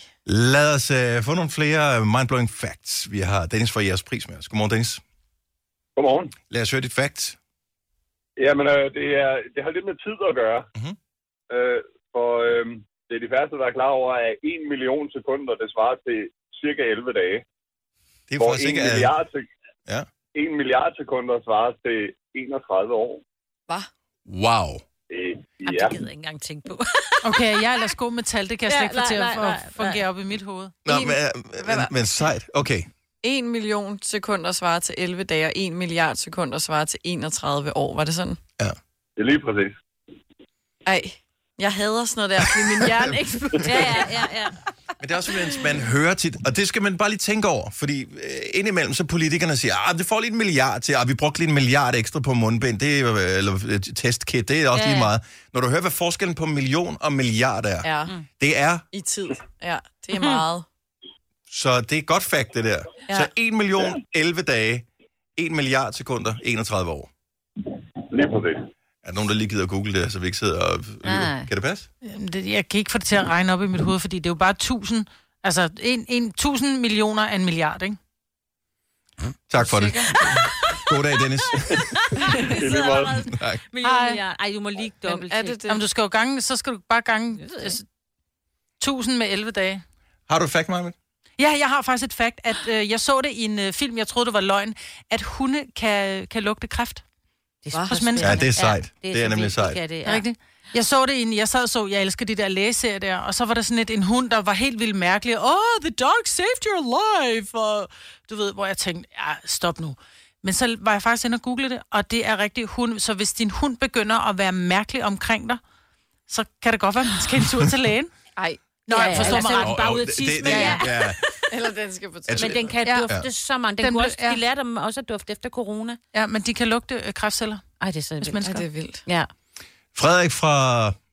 Lad os uh, få nogle flere mindblowing facts. Vi har Dennis fra jeres pris med os. Godmorgen, Dennis.
Godmorgen.
Lad os høre dit fact.
Jamen, øh, det, er, det har lidt med tid at gøre.
Mhm.
Mm-hmm. Øh, for øh, det er de færreste, der er klar over, at 1 million sekunder, det svarer til cirka 11 dage.
Det er
hvor
faktisk
1
ikke, øh,
milliard, sek-
ja.
1 milliard sekunder svarer til 31 år.
Wow.
Øh, ja.
gider ikke engang tænke på.
Okay, jeg er ellers god med tal, det kan jeg
Ja,
slet ikke få
nej,
til at
nej,
få-
nej, nej.
fungere op i mit hoved.
Nå,
En-
men, øh, men, men sejt. Okay.
1 million sekunder svarer til 11 dage, og 1 milliard sekunder svarer til 31 år. Var det sådan?
Det er lige præcis.
Ej, jeg hader sådan noget der, fordi min hjerne
*laughs*
eksploderer. ja, ja, ja, ja.
Men det er også, mens man hører tit, og det skal man bare lige tænke over, fordi øh, indimellem så politikerne siger, ah, det får lige en milliard til, ah, vi brugte lige en milliard ekstra på mundbind, det er, øh, eller øh, testkit, det er også
Ja,
ja, lige
ja.
meget. Når du hører, hvad forskellen på million og milliard er,
Ja.
det er,
I tid. Ja, det er meget.
så det er godt fakt, det der.
Ja.
Ja. Så 1 million, 11 dage, 1 milliard sekunder, 31 år.
Lige præcis.
Er der nogen, der lige gider google det, så vi ikke sidder og...
Nej.
Kan det passe?
Jamen, det- Jeg kan ikke få det til at regne op i mit hoved, fordi det er jo bare 1000, altså en, en, 1000 millioner af en milliard, ikke?
Tak for det. *laughs* God dag, Dennis. det
er lige meget.
Tak.
Hej.
milliard. Ej, du må lige dobbelt
er det det? Jamen, du skal jo gange, så skal du bare gange altså, 1000 med 11 dage.
Har du et fact, Marvind?
Ja, jeg har faktisk et fakt, at øh, jeg så det i en øh, film, jeg troede, det var løgn, at hunde kan, kan lugte kræft. Det
er
hos
så
mennesker.
spændende. Ja, det er sejt. Det er Det er så nemlig vildt, sejt. de kan det,
Det
ja.
er rigtigt. Jeg så det i en, jeg sad og så, jeg elsker de der lægeserier der, og så var der sådan et, en hund, der var helt vildt mærkelig. Oh, the dog saved your life! Og du ved, hvor jeg tænkte, ja, stop nu. Men så var jeg faktisk inde og google det, og det er rigtigt hund. Så hvis din hund begynder at være mærkelig omkring dig, så kan det godt være, at man skal en tur til lægen.
Ej.
Nå, jeg forstår mig ret.
Åh,
bare
åh,
ud af
det-
tisse,
det-
men ja.
ja.
Eller den skal på
*laughs* Altså-
Men den kan
Ja.
dufte
Ja.
så mange. Den,
Den
den kunne
blev-
også,
ja.
De lærte dem også at dufte efter corona.
Ja, men de kan lugte øh, kræftceller.
Ej, det er så vildt.
mennesker.
Ej, det
er vildt.
Ja.
Frederik fra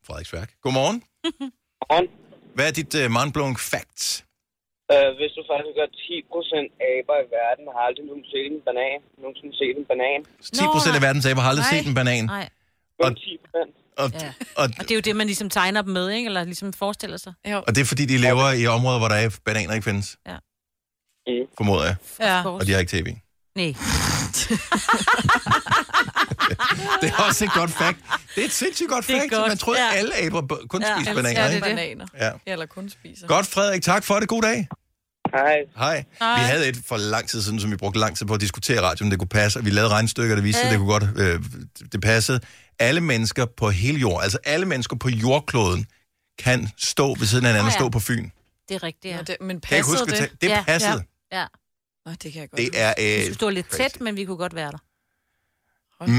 Frederiksværk. Godmorgen. Godmorgen. Hvad er dit uh, mindblowing fact?
Øh, hvis du faktisk gør 10% aber i verden, har aldrig nogen set en banan. Nogensinde set en banan.
10 procent af verdens aber har aldrig
Nej.
set en banan.
Nej.
Og,
Og,
og,
ja.
og,
og det er jo det, man ligesom tegner dem med, ikke? Eller ligesom forestiller sig.
Jo.
og det er fordi, de lever i områder, hvor der er bananer ikke findes.
Ja.
Formoder jeg.
Ja.
Og de har ikke tv.
Nej.
Det er også et godt fact. Det er et sindssygt godt
Det er
fact.
godt,
Man troede,
ja.
at alle aber b- kun
ja.
spiste
altså,
bananer,
ja, det er
ikke?
bananer.
Ja.
Eller kun spiser.
Godt, Frederik. Tak for det. God dag.
Hej.
Hej.
Hej.
Vi havde et for lang tid siden, som vi brugte lang tid på at diskutere i radioen, det kunne passe, og vi lavede regnstykker, der viste, at
Ja.
det kunne godt, øh, det passede. Alle mennesker på hele jorden, altså alle mennesker på jordkloden, kan stå ved siden af hinanden og
Ah, ja.
stå på Fyn.
Det er rigtigt, ja.
Det, men
Kan jeg ikke huske,
passede
det? Det passede.
Ja. ja.
Nå, det kan jeg godt.
Det er...
Vi
Øh,
skulle stå lidt tæt, men vi kunne godt være der.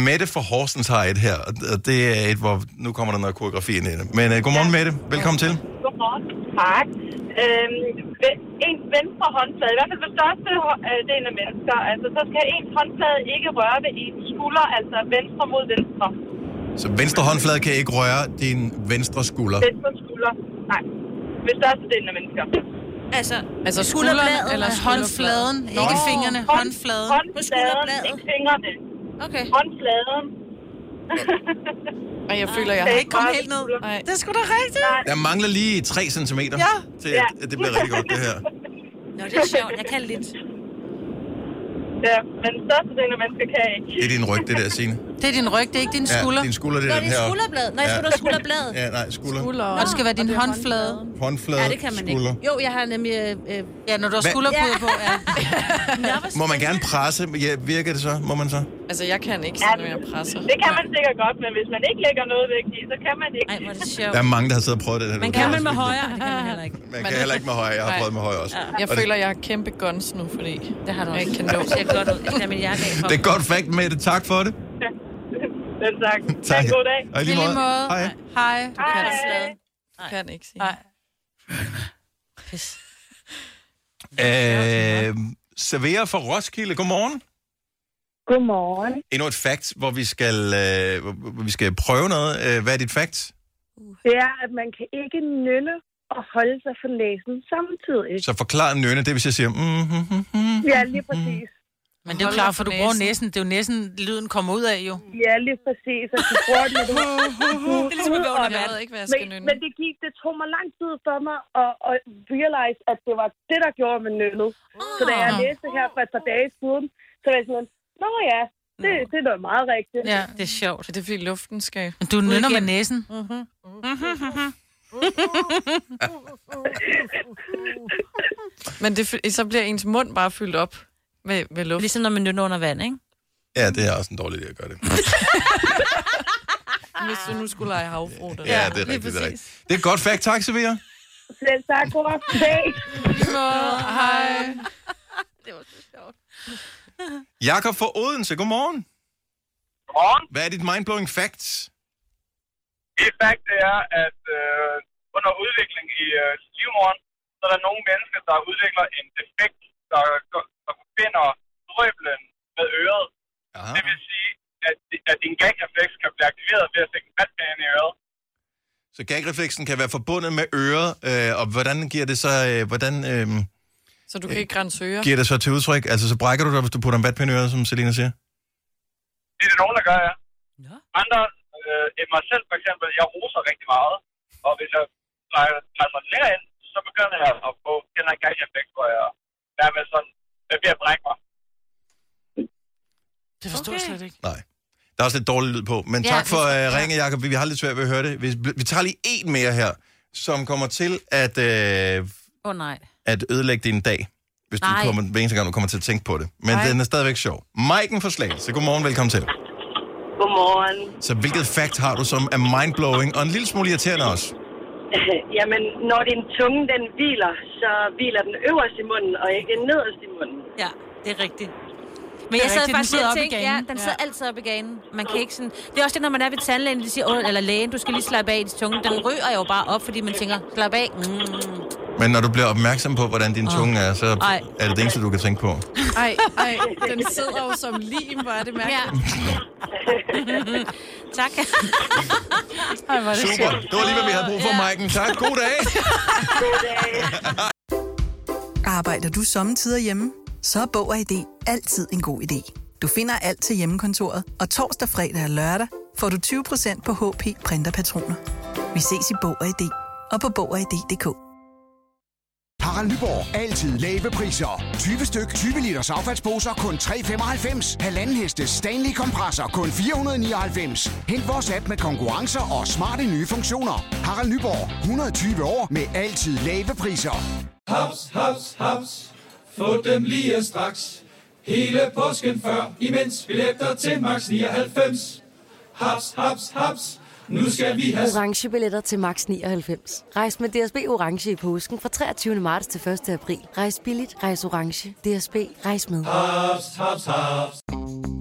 Mette fra Horsens har et her, og og det er et, hvor nu kommer der noget koreografi ind i det. Men øh, godmorgen, Mette. Velkommen til.
Godmorgen. Tak. Øhm, ve- ens venstre håndflade, i hvert fald for største delen af mennesker, altså, så skal ens håndflade ikke røre ved ens skulder, altså venstre mod venstre.
Så venstre håndflade kan ikke røre din venstre skulder.
Venstre skulder, nej. Ved største delen af mennesker.
Altså,
Altså skulderen eller håndfladen, ikke fingrene, håndfladen.
Håndfladen, ikke fingrene.
Okay.
Håndfladen.
Og jeg føler, jeg har ikke kommet helt ned. Nej. Det er sgu da rigtigt.
Der mangler lige 3 cm, ja. til at,
Ja.
at det bliver rigtig godt, det her.
Nå, det er sjovt. Jeg kan lidt.
Ja, men størstedelen af mennesker kan ikke.
Det er din ryg, det der, Signe.
Det er din ryg, det er ikke din
Ja,
skulder.
din skulder, det er
Nå,
den
det er
her.
skulderblad. Nej, jeg skulle da skulderbladet.
Ja, nej, skulder.
Og det skal være din håndflade.
Håndflade,
Ja, det kan man
skulder.
ikke. Jo, jeg har nemlig... Øh, øh,
ja, når du har
Hvad-
skulderpuder på, ja.
Må man gerne presse? Ja, virker det så? Må man så?
Altså, jeg kan ikke, sådan, når jeg presser.
Det kan man sikkert godt, men hvis man ikke lægger noget væk i, så kan man ikke. Ej,
hvor er det
Der er mange, der har siddet og prøvet det her.
højre? Det kan man heller ikke.
Man kan heller ikke med højre. Jeg har
Nej.
prøvet med højre også.
Jeg
Og det-
føler, jeg har kæmpe guns nu, fordi det
har du
jeg
også.
ikke kan nå.
Det ser godt ud. Det er min jakke af.
Det er godt fact, Mette. Tak for det.
Selv tak.
Tak.
Ha' en god dag.
Og i lige måde. Hej.
Hej. Du
kan det
Hej.
stadig. Du kan ikke sige.
Nej.
Pis.
Øh, serverer fra Roskilde, godmorgen.
Godmorgen.
Endnu et fact, hvor vi skal, øh, hvor- hvor vi skal prøve noget. Øh, Hvad er dit fact?
Det er, at man kan ikke nynne og holde sig for næsen samtidig.
Så forklar nynne, det er, hvis jeg siger, mm, mm, mm.
Ja, lige præcis.
Men det er jo klart, for du bruger næsen. Det er jo næsten, lyden kommer ud af jo.
Ja, lige
*laughs*
præcis. Og du bruger den, når du...
Det er ligesom at være under
Og-
vand. Jeg ved ikke, hvad jeg skal
men,
nynne.
Men det, gik, det tog mig lang tid for mig at, at realize, at det var det, der gjorde mig nynnet. Så da jeg
Ah.
læste det her for et par dage siden, så var jeg sådan, nå ja, det, det er noget meget rigtigt.
Ja, det er sjovt.
Det er fordi luften skal...
Du
ud
nynner med
igen.
næsen.
Men det, fy- så bliver ens mund bare fyldt op med, med luft.
Ligesom når man nynner under vand, ikke?
Ja, det er også en dårlig idé at gøre det.
Hvis du nu skulle lege havfru.
Ja, det er rigtigt. Det er, rigtigt. det er et godt fact, tak, Sevilla.
Selv tak, god aften. Hej.
Hej.
Jakob fra Odense, godmorgen.
Godmorgen.
Hvad er dit mindblowing fact?
Det fakt er, at øh, under udvikling i øh, livmoderen, så er der nogle mennesker, der udvikler en defekt, der, der forbinder drøblen med øret.
Aha.
Det vil sige, at, at din gagrefleks kan blive aktiveret ved at stikke en vatpande i øret.
Så gagrefleksen kan være forbundet med øret, øh, og hvordan giver det så, øh, hvordan øh,
Så du kan ikke grænse ører.
giver det så til udtryk? Altså, så brækker du dig, hvis du putter en vatpind i øret, som Selina siger?
Det er det nogen, der gør, ja. Andre øh, end mig selv, for eksempel, jeg roser rigtig meget. Og hvis jeg drejer drejer mig længere ind, så begynder jeg at få den her gagrefleks, hvor jeg er med sådan, jeg bliver brække mig.
Det forstår jeg slet ikke.
Der er også lidt dårlig lyd på, men
Ja,
ja, tak for
det-
uh, ringe, Jacob. Vi, vi har lidt svært ved at høre det. Vi, vi tager lige en mere her, som kommer til at, øh,
Åh oh, nej.
at ødelægge din dag, hvis Nej.
Nej.
du kommer, hver eneste gang, du kommer til at tænke på det. Men
Nej.
Nej. den er stadigvæk sjov. Maiken fra Slagelse, godmorgen, velkommen til.
Godmorgen.
Så hvilket fact har du, som er mindblowing og en lille smule irriterende også?
*laughs* Jamen, når din tunge den hviler, så hviler den øverst i munden og ikke nederst i munden.
Ja, det er rigtigt. Men
Det er
jeg sad
rigtigt, den
faktisk
sidder
og
oppe i
tænkte, ja,
ganen.
den
Ja.
sidder altid op i ganen. Man kan ikke sådan... Det er også det, når man er ved tandlægen, de siger, "Åh, eller lægen, du skal lige slappe af i tungen. Den ryger jo bare op, fordi man tænker, slap af. Mm.
Men når du bliver opmærksom på, hvordan din tunge er, så
Ej.
er det det eneste, du kan
*laughs*
tænke på.
Ej, ej, den sidder jo som lim, hvor er det mærkeligt. Ja.
*laughs* tak.
Ej, hvor er det
Super. Det var lige, hvad vi havde brug for, Maiken. Tak. God dag.
*laughs*
Arbejder du sommetider hjemme? Så er Bog og ID altid en god idé. Du finder alt til hjemmekontoret, og torsdag, fredag og lørdag får du 20% på HP printerpatroner. Vi ses i Bog og ID og på Bog og ID.dk.
Harald Nyborg. Altid lave priser. 20 styk, 20 liters affaldsposer kun 3,95. Halvanden heste Stanley kompresser kun 499. Hent vores app med konkurrencer og smarte nye funktioner. Harald Nyborg. 120 år med altid lave priser.
Haps, haps, haps. Få dem lige straks. Hele påsken før, imens billetter til max 99. Haps, haps, haps. Nu skal vi have
orange billetter til max 99. Rejs med DSB orange i påsken fra 23. marts til 1. april. Rejs billigt, rejs orange. DSB rejs med.
haps, haps, haps.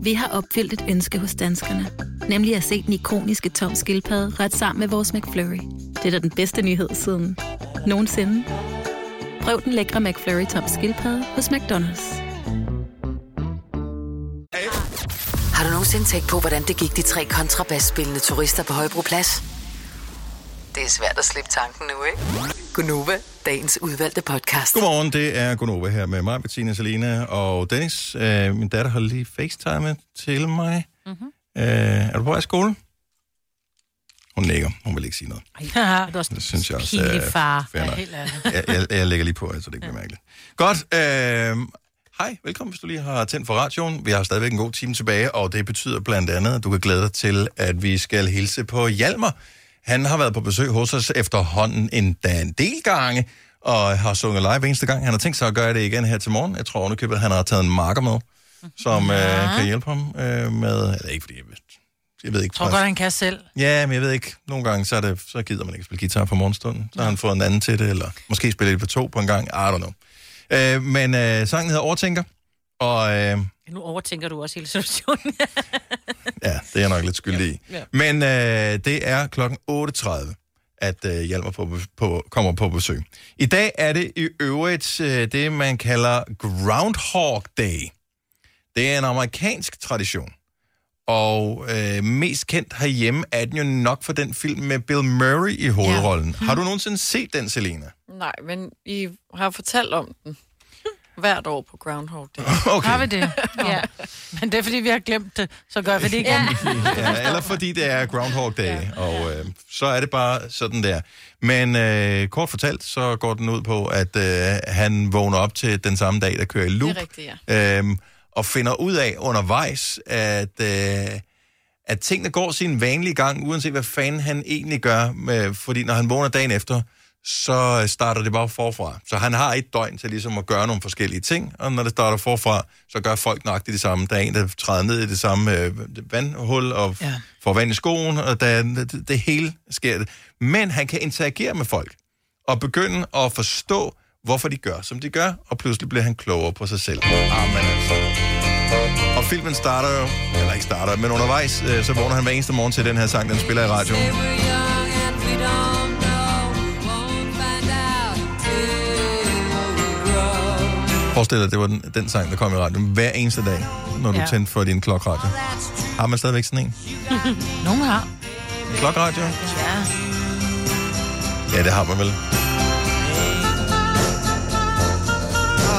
Vi har opfyldt et ønske hos danskerne. Nemlig at se den ikoniske tom skildpadde ret sammen med vores McFlurry. Det er da den bedste nyhed siden nogensinde. Prøv den lækre McFlurry tom skildpadde hos McDonald's.
Har du nogensinde tænkt på, hvordan det gik de tre kontrabasspillende turister på Højbroplads? Det er svært at slippe tanken nu, ikke? Gunova, dagens udvalgte podcast.
Godmorgen, det er Gunova her med mig, Bettina, Selina og Dennis. Øh, min datter har lige facetimet til mig.
Mhm.
Mm-hmm. Øh, er du på vej i skole? Hun nikker. Hun vil ikke sige noget.
Ja, det er også
Det synes jeg også
pinlig
er
far.
fair nok.
helt ærligt.
Jeg, jeg, jeg lægger lige på, så det ikke bliver mærkeligt. Godt. Øh, hej, velkommen, hvis du lige har tændt for radioen. Vi har stadigvæk en god time tilbage, og det betyder blandt andet, at du kan glæde dig til, at vi skal hilse på Hjalmar. Han har været på besøg hos os efterhånden en, da en del gange, og har sunget live hver eneste gang. Han har tænkt sig at gøre det igen her til morgen. Jeg tror underkøbet, at han har taget en marker med,
Mhm.
som øh, kan hjælpe ham øh, med... Eller ikke, fordi jeg, jeg ved ikke...
Jeg tror godt, han kan selv.
Ja, men jeg ved ikke. Nogle gange, så, er det, så gider man ikke spille guitar på morgenstunden. Så har han fået en anden til det, eller måske spiller det på to på en gang. I don't know. Øh, men øh, sangen hedder Overtænker, og øh,
Nu overtænker du også hele situationen.
Ja, det er jeg nok lidt skyldig i.
Ja.
Men øh, det er klokken 8.30, at øh, Hjalmar på, på, kommer på besøg. I dag er det i øvrigt øh, det, man kalder Groundhog Day. Det er en amerikansk tradition. Og øh, mest kendt herhjemme er den jo nok for den film med Bill Murray i hovedrollen. Ja.
Mhm.
Har du nogensinde set den, Selena?
Nej, men I har fortalt om den hvert år på Groundhog Day.
Okay.
Har vi
*laughs*
det? Ja. Men det er, fordi vi har glemt det, så gør vi det igen.
ja, eller fordi det er Groundhog Day, ja. og øh, så er det bare sådan der. Men øh, kort fortalt, så går den ud på, at øh, han vågner op til den samme dag, der kører i
Det
loop,
er rigtigt, ja.
øhm, og finder ud af undervejs, at, øh, at tingene går sin vanlige gang, uanset hvad fanden han egentlig gør, med, fordi når han vågner dagen efter, så starter det bare forfra. Så han har et døgn til ligesom at gøre nogle forskellige ting, og når det starter forfra, så gør folk nøjagtigt det samme. Der er en, der træder ned i det samme øh, vandhul og ja. får vand i skoen, og der, det, det hele sker. det. Men han kan interagere med folk og begynde at forstå, hvorfor de gør, som de gør, og pludselig bliver han klogere på sig selv. Amen altså. Og filmen starter jo, eller ikke starter, men undervejs, øh, så vågner han hver eneste morgen til den her sang, den spiller i radioen. Forestil dig, det var den, den sang, der kom i radioen hver eneste dag, når du
Ja.
ja. tændte for din klokradio. Har man stadigvæk sådan en?
Nogen har.
En klokradio?
Ja.
Ja, det har man vel.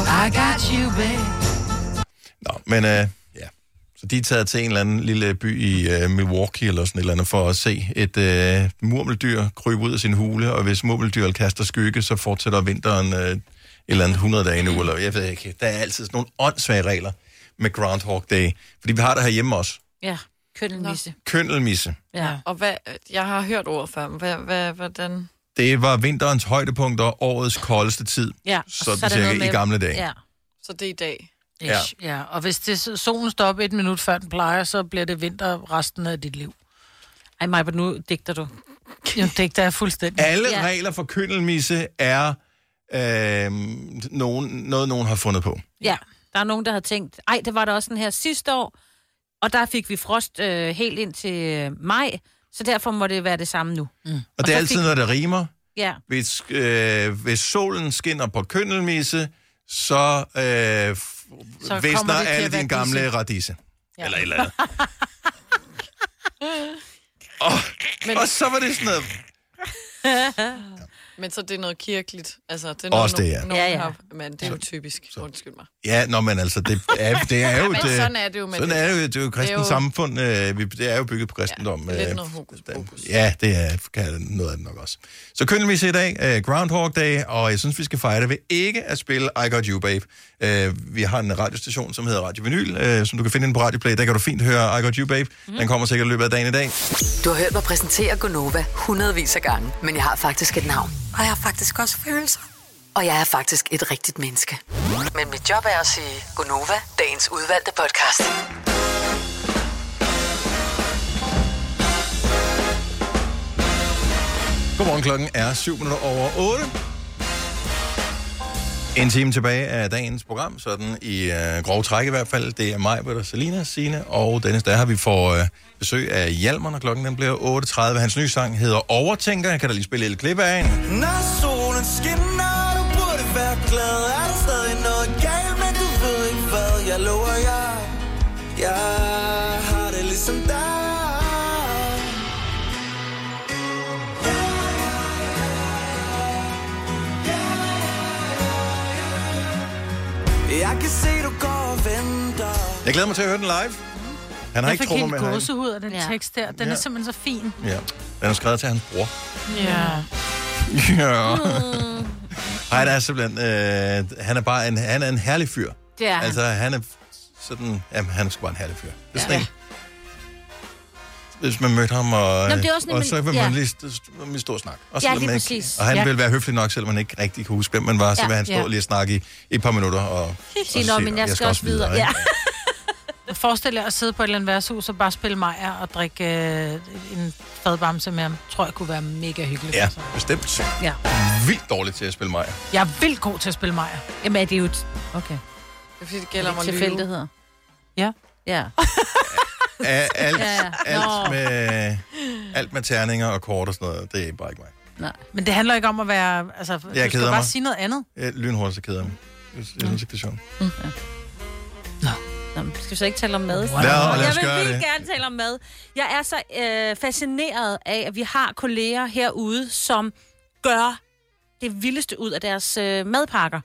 I got you, babe.
Men øh, ja, så de er taget til en eller anden lille by i øh, Milwaukee eller sådan et eller andet for at se et øh, murmeldyr krybe ud af sin hule, og hvis murmeldyret kaster skygge, så fortsætter vinteren øh, et eller andet 100 dage nu, eller jeg ved ikke. Der er altid sådan nogle åndssvage regler med Groundhog Day, fordi vi har det herhjemme også.
ja, køndelmisse.
Køndelmisse.
Ja.
Og hvad, jeg har hørt ord før, men hvad, hvad, hvordan...
Det var vinterens højdepunkt og årets koldeste tid. sådan så cirka i gamle dage.
Ja.
Så det er i dag.
Ja.
Ish, ja. Og hvis det, solen stopper et minut før den plejer, så bliver det vinter resten af dit liv.
Ej, Maja, nu digter du.
Jo, digter jeg fuldstændig.
Alle ja. regler for køndelmisse er øh, nogen, noget, nogen har fundet på.
Ja, der er nogen, der har tænkt, ej, det var der også den her sidste år, og der fik vi frost øh, helt ind til øh, maj, så derfor må det være det samme nu. Mm.
Og, og det er
så
altid,
fik-
når det rimer.
Ja,
Hvis, øh, hvis solen skinner på køndelmisse, så, øh,
kommer
så
det til
visner
at
alle
være
dine gamle
disse.
radise.
Ja.
Ja. Eller et eller andet. og, Men... og så var det sådan noget...
Men så det er noget kirkeligt. Altså, det er
Også det, ja.
Nogen
Ja,
ja,
ja.
ja. Har, men det er jo typisk. Undskyld mig.
Ja, nå, men altså, det er, det er jo...
*laughs* Men
et, øh,
sådan er det jo med
sådan
det.
er det jo, det er jo et kristent
Det er jo-
samfund. Øh, vi, det er jo bygget på kristendom.
Lidt
øh,
noget hokus pokus.
Ja, det er kan noget af det nok også. Så køndelvis i dag, uh, Groundhog Day, og jeg synes, vi skal fejre det ved ikke at spille I Got You, Babe. Uh, vi har en radiostation, som hedder Radio Vinyl, uh, som du kan finde inde på Radioplay. Der kan du fint høre I Got You, Babe.
Mhm.
Mm. Den kommer sikkert i løbet af dagen i dag.
Du har hørt mig præsentere Gonova hundredvis af gange, men jeg har faktisk et navn.
Og jeg har faktisk også følelser.
Og jeg er faktisk et rigtigt menneske. Men mit job er at sige Gonova, dagens udvalgte podcast.
Godmorgen, klokken er 7 minutter over 8. En time tilbage af dagens program, sådan i øh, grov træk i hvert fald. Det er mig, Britta, Selina, Signe og Dennis. Der har vi får øh, besøg af Hjalmar, når klokken den bliver 8.30. Hans nye sang hedder Overtænker. Jeg kan da lige spille et lille klip af en.
Når solen skinner, du burde være glad Er der stadig noget galt, men du ved ikke hvad Jeg lover jer, jeg har det ligesom dig Jeg kan se, du går og venter
Jeg glæder mig til at høre den live. Han har
jeg
ikke
fik
trummer
helt
med herinde.
gåsehud af den ja. tekst der. Den ja.
Ja.
er simpelthen så fin.
Ja. Den er skrevet til hans bror.
Ja.
*laughs* ja. Nej, der er simpelthen... Øh, han er bare en, han er en herlig fyr.
Det er han.
Altså, han er sådan... Jamen, han er sgu bare en herlig fyr. Det er sådan ja. Hvis man mødte ham, og,
Nå, men det er også
og
nemlig-
så vil man
ja.
lige st- st- lige stå og snakke. Og,
Ja,
selvom
lige
man
præcis.
og han
Ja.
vil være høflig nok, selvom man ikke rigtig kan huske, hvem man var, så
Ja,
vil han stå
ja.
ja. lige og snakke i, i et par minutter. Og,
sig, nå, men jeg, skal også videre.
ikke?
Ja.
Og Forestil jer at sidde på et eller andet værtshus og bare spille Maja og drikke øh, en fadbamse med ham. Tror jeg kunne være mega hyggeligt. Altså.
ja, bestemt.
ja.
Vildt dårligt til at spille
*laughs*
mig.
Jeg er vildt god til at spille Maja.
Jamen, er det jo... Okay.
Det er fordi, det
Er det
gælder om
ikke
at lyve.
tilfældigheder?
Ja.
Ja.
Af alt,
Ja, ja.
alt,
Nå.
med, alt med terninger og kort og sådan noget, det er bare ikke mig.
Nej. Men det handler ikke om at være... Altså,
Jeg
du skal
keder
bare
mig.
sige noget andet.
Jeg lynhurtigt, så keder jeg mig. Jeg, jeg synes ikke, det er sjovt.
Nå, skal vi så ikke tale om mad?
Lad- lad os
jeg vil
gøre
vildt
det.
gerne tale om mad. Jeg er så øh, fascineret af, at vi har kolleger herude, som gør det vildeste ud af deres øh, madpakker.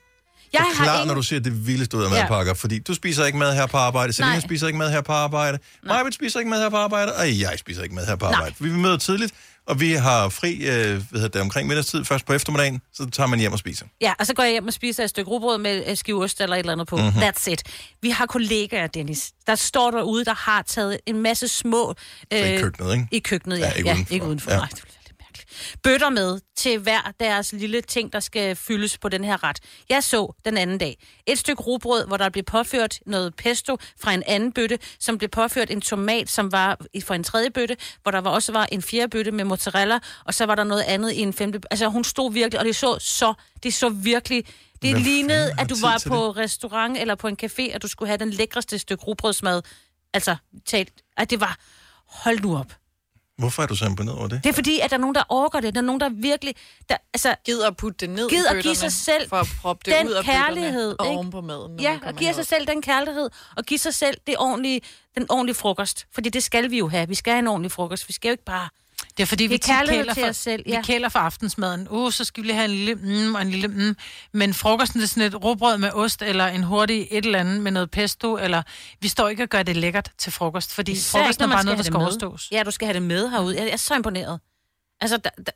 Jeg
Jeg Klar, når du siger det vildeste ud af
Ja.
madpakker, fordi du spiser ikke mad her på arbejde, Selina
Nej.
spiser ikke mad her på arbejde, Majbet spiser ikke mad her på arbejde, og jeg spiser ikke mad her på arbejde. Vi møder tidligt, og vi har fri øh, hvad hedder det, omkring middagstid, først på eftermiddagen, så tager man hjem og spiser.
Ja, og så går jeg hjem og spiser et stykke rugbrød med øh, skive ost eller et eller andet på.
Mhm.
Mm-hmm. That's it. Vi har kollegaer, Dennis, der står derude, der har taget en masse små... Øh,
i køkkenet, ikke?
I køkkenet, ja.
Ja, ikke
ja,
udenfor.
Ikke udenfor.
Ja.
Ja. Nej, det ville være lidt mærkeligt. Bøtter med til hver deres lille ting, der skal fyldes på den her ret. Jeg så den anden dag et stykke rugbrød, hvor der blev påført noget pesto fra en anden bøtte, som blev påført en tomat, som var i- fra en tredje bøtte, hvor der var også var en fjerde bøtte med mozzarella, og så var der noget andet i en femte. Altså hun stod virkelig, og det så så, det så virkelig det
Hvem
lignede,
fanden har
at du
tid
var
til
på det? restaurant eller på en café, og du skulle have den lækreste stykke rugbrødsmad. Altså, talt, at det var, hold nu op.
Hvorfor er du så imponeret over det?
Det er fordi, at der er nogen, der overgår det. Der er nogen, der virkelig... Der, altså,
gider at putte det ned
gider
i
at give sig
bøtterne,
selv
for at proppe det
den
ud af
kærlighed.
bøtterne og
ikke?
oven på maden, når
Ja,
man
og
kommer
give sig selv den kærlighed, og give sig selv det ordentlige, den ordentlige frokost. Fordi det skal vi jo have. Vi skal have en ordentlig frokost. Vi skal jo ikke bare...
Det er fordi,
Det
vi
er
tit
kærlighed
kæler
til
for,
os selv,
vi
ja.
kæler for aftensmaden. Uh, så skal vi lige have en lille mm og en lille mm. Men frokosten det er sådan et råbrød med ost, eller en hurtig et eller andet med noget pesto, eller vi står ikke og gør det lækkert til frokost, fordi
Især ikke,
frokosten
når
er
man
bare noget, der
have
skal
det med.
overstås.
Ja, du skal have det med herude. Jeg, jeg er så imponeret. Altså, der, der,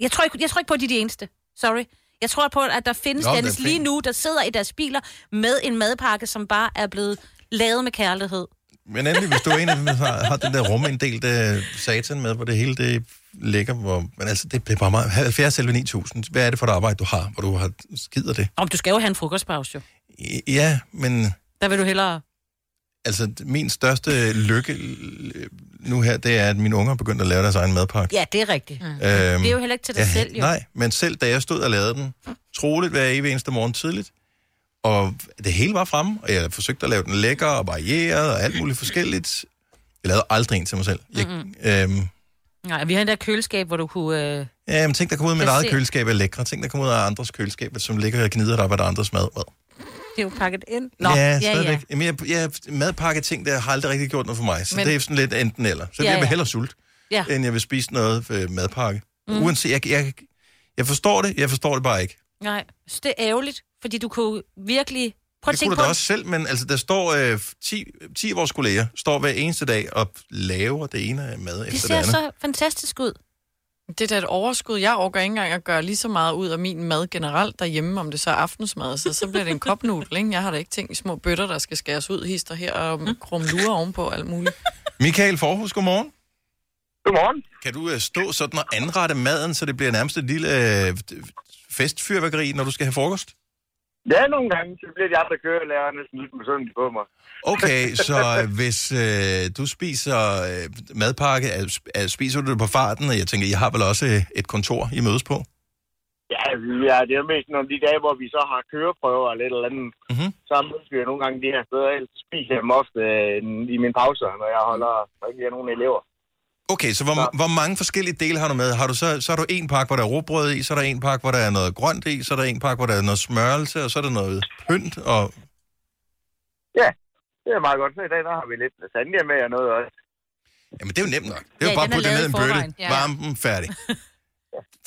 jeg, tror ikke, jeg tror ikke på, at de er de eneste. Sorry. Jeg tror på, at der findes
Nå,
Nå,
men
Dennis
det er fint.
lige nu, der sidder i deres biler med en madpakke, som bare er blevet lavet med kærlighed.
Men endelig, hvis du er en af dem, der har, har den der ruminddel satan med, hvor det hele det ligger, hvor, men altså, det bliver bare meget, 70 eller 9000, hvad er det for et arbejde, du har, hvor du har skider det?
Om du skal jo have en frokostpause, jo.
Ja, men
Der vil du hellere...
altså, min største lykke øh, nu her, det er, at mine unger er begyndt at lave deres egen madpakke.
Ja, det er rigtigt. Mm. det er jo heller ikke til dig
jeg-
selv, jo.
Nej, men selv da jeg stod og lavede den, troligt hver evig eneste morgen tidligt, og det hele var fremme, og jeg forsøgte at lave den lækker og varieret og alt muligt forskelligt. Jeg lavede aldrig en til mig selv. Jeg,
Mm-mm.
øhm,
Nej, vi har en der køleskab, hvor du kunne... Øh...
ja, men ting, der kommer ud af mit
Jeg
eget
ser-
køleskab, er lækre. Ting, der kommer ud af andres køleskab, som ligger og gnider dig op af et andres mad. Well.
Det er jo pakket ind.
ja, stadigvæk. Ja. Jamen, jeg, jeg, madpakke ting, der har aldrig rigtig gjort noget for mig. Så men...
Men-
det er sådan lidt enten eller. Så
Ja,
ja, jeg vil
ja.
hellere sulte,
Ja.
ja. end jeg vil spise noget øh, madpakke.
Mm.
Mm. Uanset, jeg, jeg, jeg forstår det, jeg forstår det bare ikke.
Nej, så det er ærgerligt, fordi du kunne virkelig... Prøv at
det
tænke
kunne du
på...
da også selv, men altså, der står øh, 10, 10 af vores kolleger, står hver eneste dag og laver det ene af mad
Det
efter det
ser
andet. Så...
så fantastisk ud.
Det er da et overskud. Jeg overgår ikke engang at gøre lige så meget ud af min mad generelt derhjemme, om det så er aftensmad, så, så bliver det en kopnudel, ikke? Jeg har da ikke ting i små bøtter, der skal skæres ud, hister her og
Mm.
krumme lurer ovenpå og alt muligt.
Michael Forhus, godmorgen.
Godmorgen.
Kan du øh, stå sådan og anrette maden, så det bliver nærmest et lille øh, festfyrværkeri, når du skal have frokost?
Ja, nogle gange, så bliver de andre kørelærer næsten lidt misundelige på mig.
Okay, så hvis øh, du spiser øh, madpakke, er, er, spiser du det på farten, og jeg tænker, I har vel også øh, et kontor, I mødes på?
Ja, ja, det er mest nogle af de dage, hvor vi så har køreprøver eller et eller andet.
Mm-hmm.
Så mødes vi jo nogle gange de her steder, ellers spiser jeg dem ofte øh, i mine pauser, når jeg holder, når jeg ikke har nogen elever.
Okay, så hvor, så hvor mange forskellige dele har du med? Har du så, så har du en pakke, hvor der er råbrød i, så er der en pakke, hvor der er noget grønt i, så er der en pakke, hvor der er noget smørelse, og så er der noget pynt, og
Ja, det er meget godt. Så i dag, der har vi lidt lasagne med og noget også.
Jamen, det er jo nemt nok. Det er jo bare at putte det ned i en bøtte, ja, ja. varme den, færdig.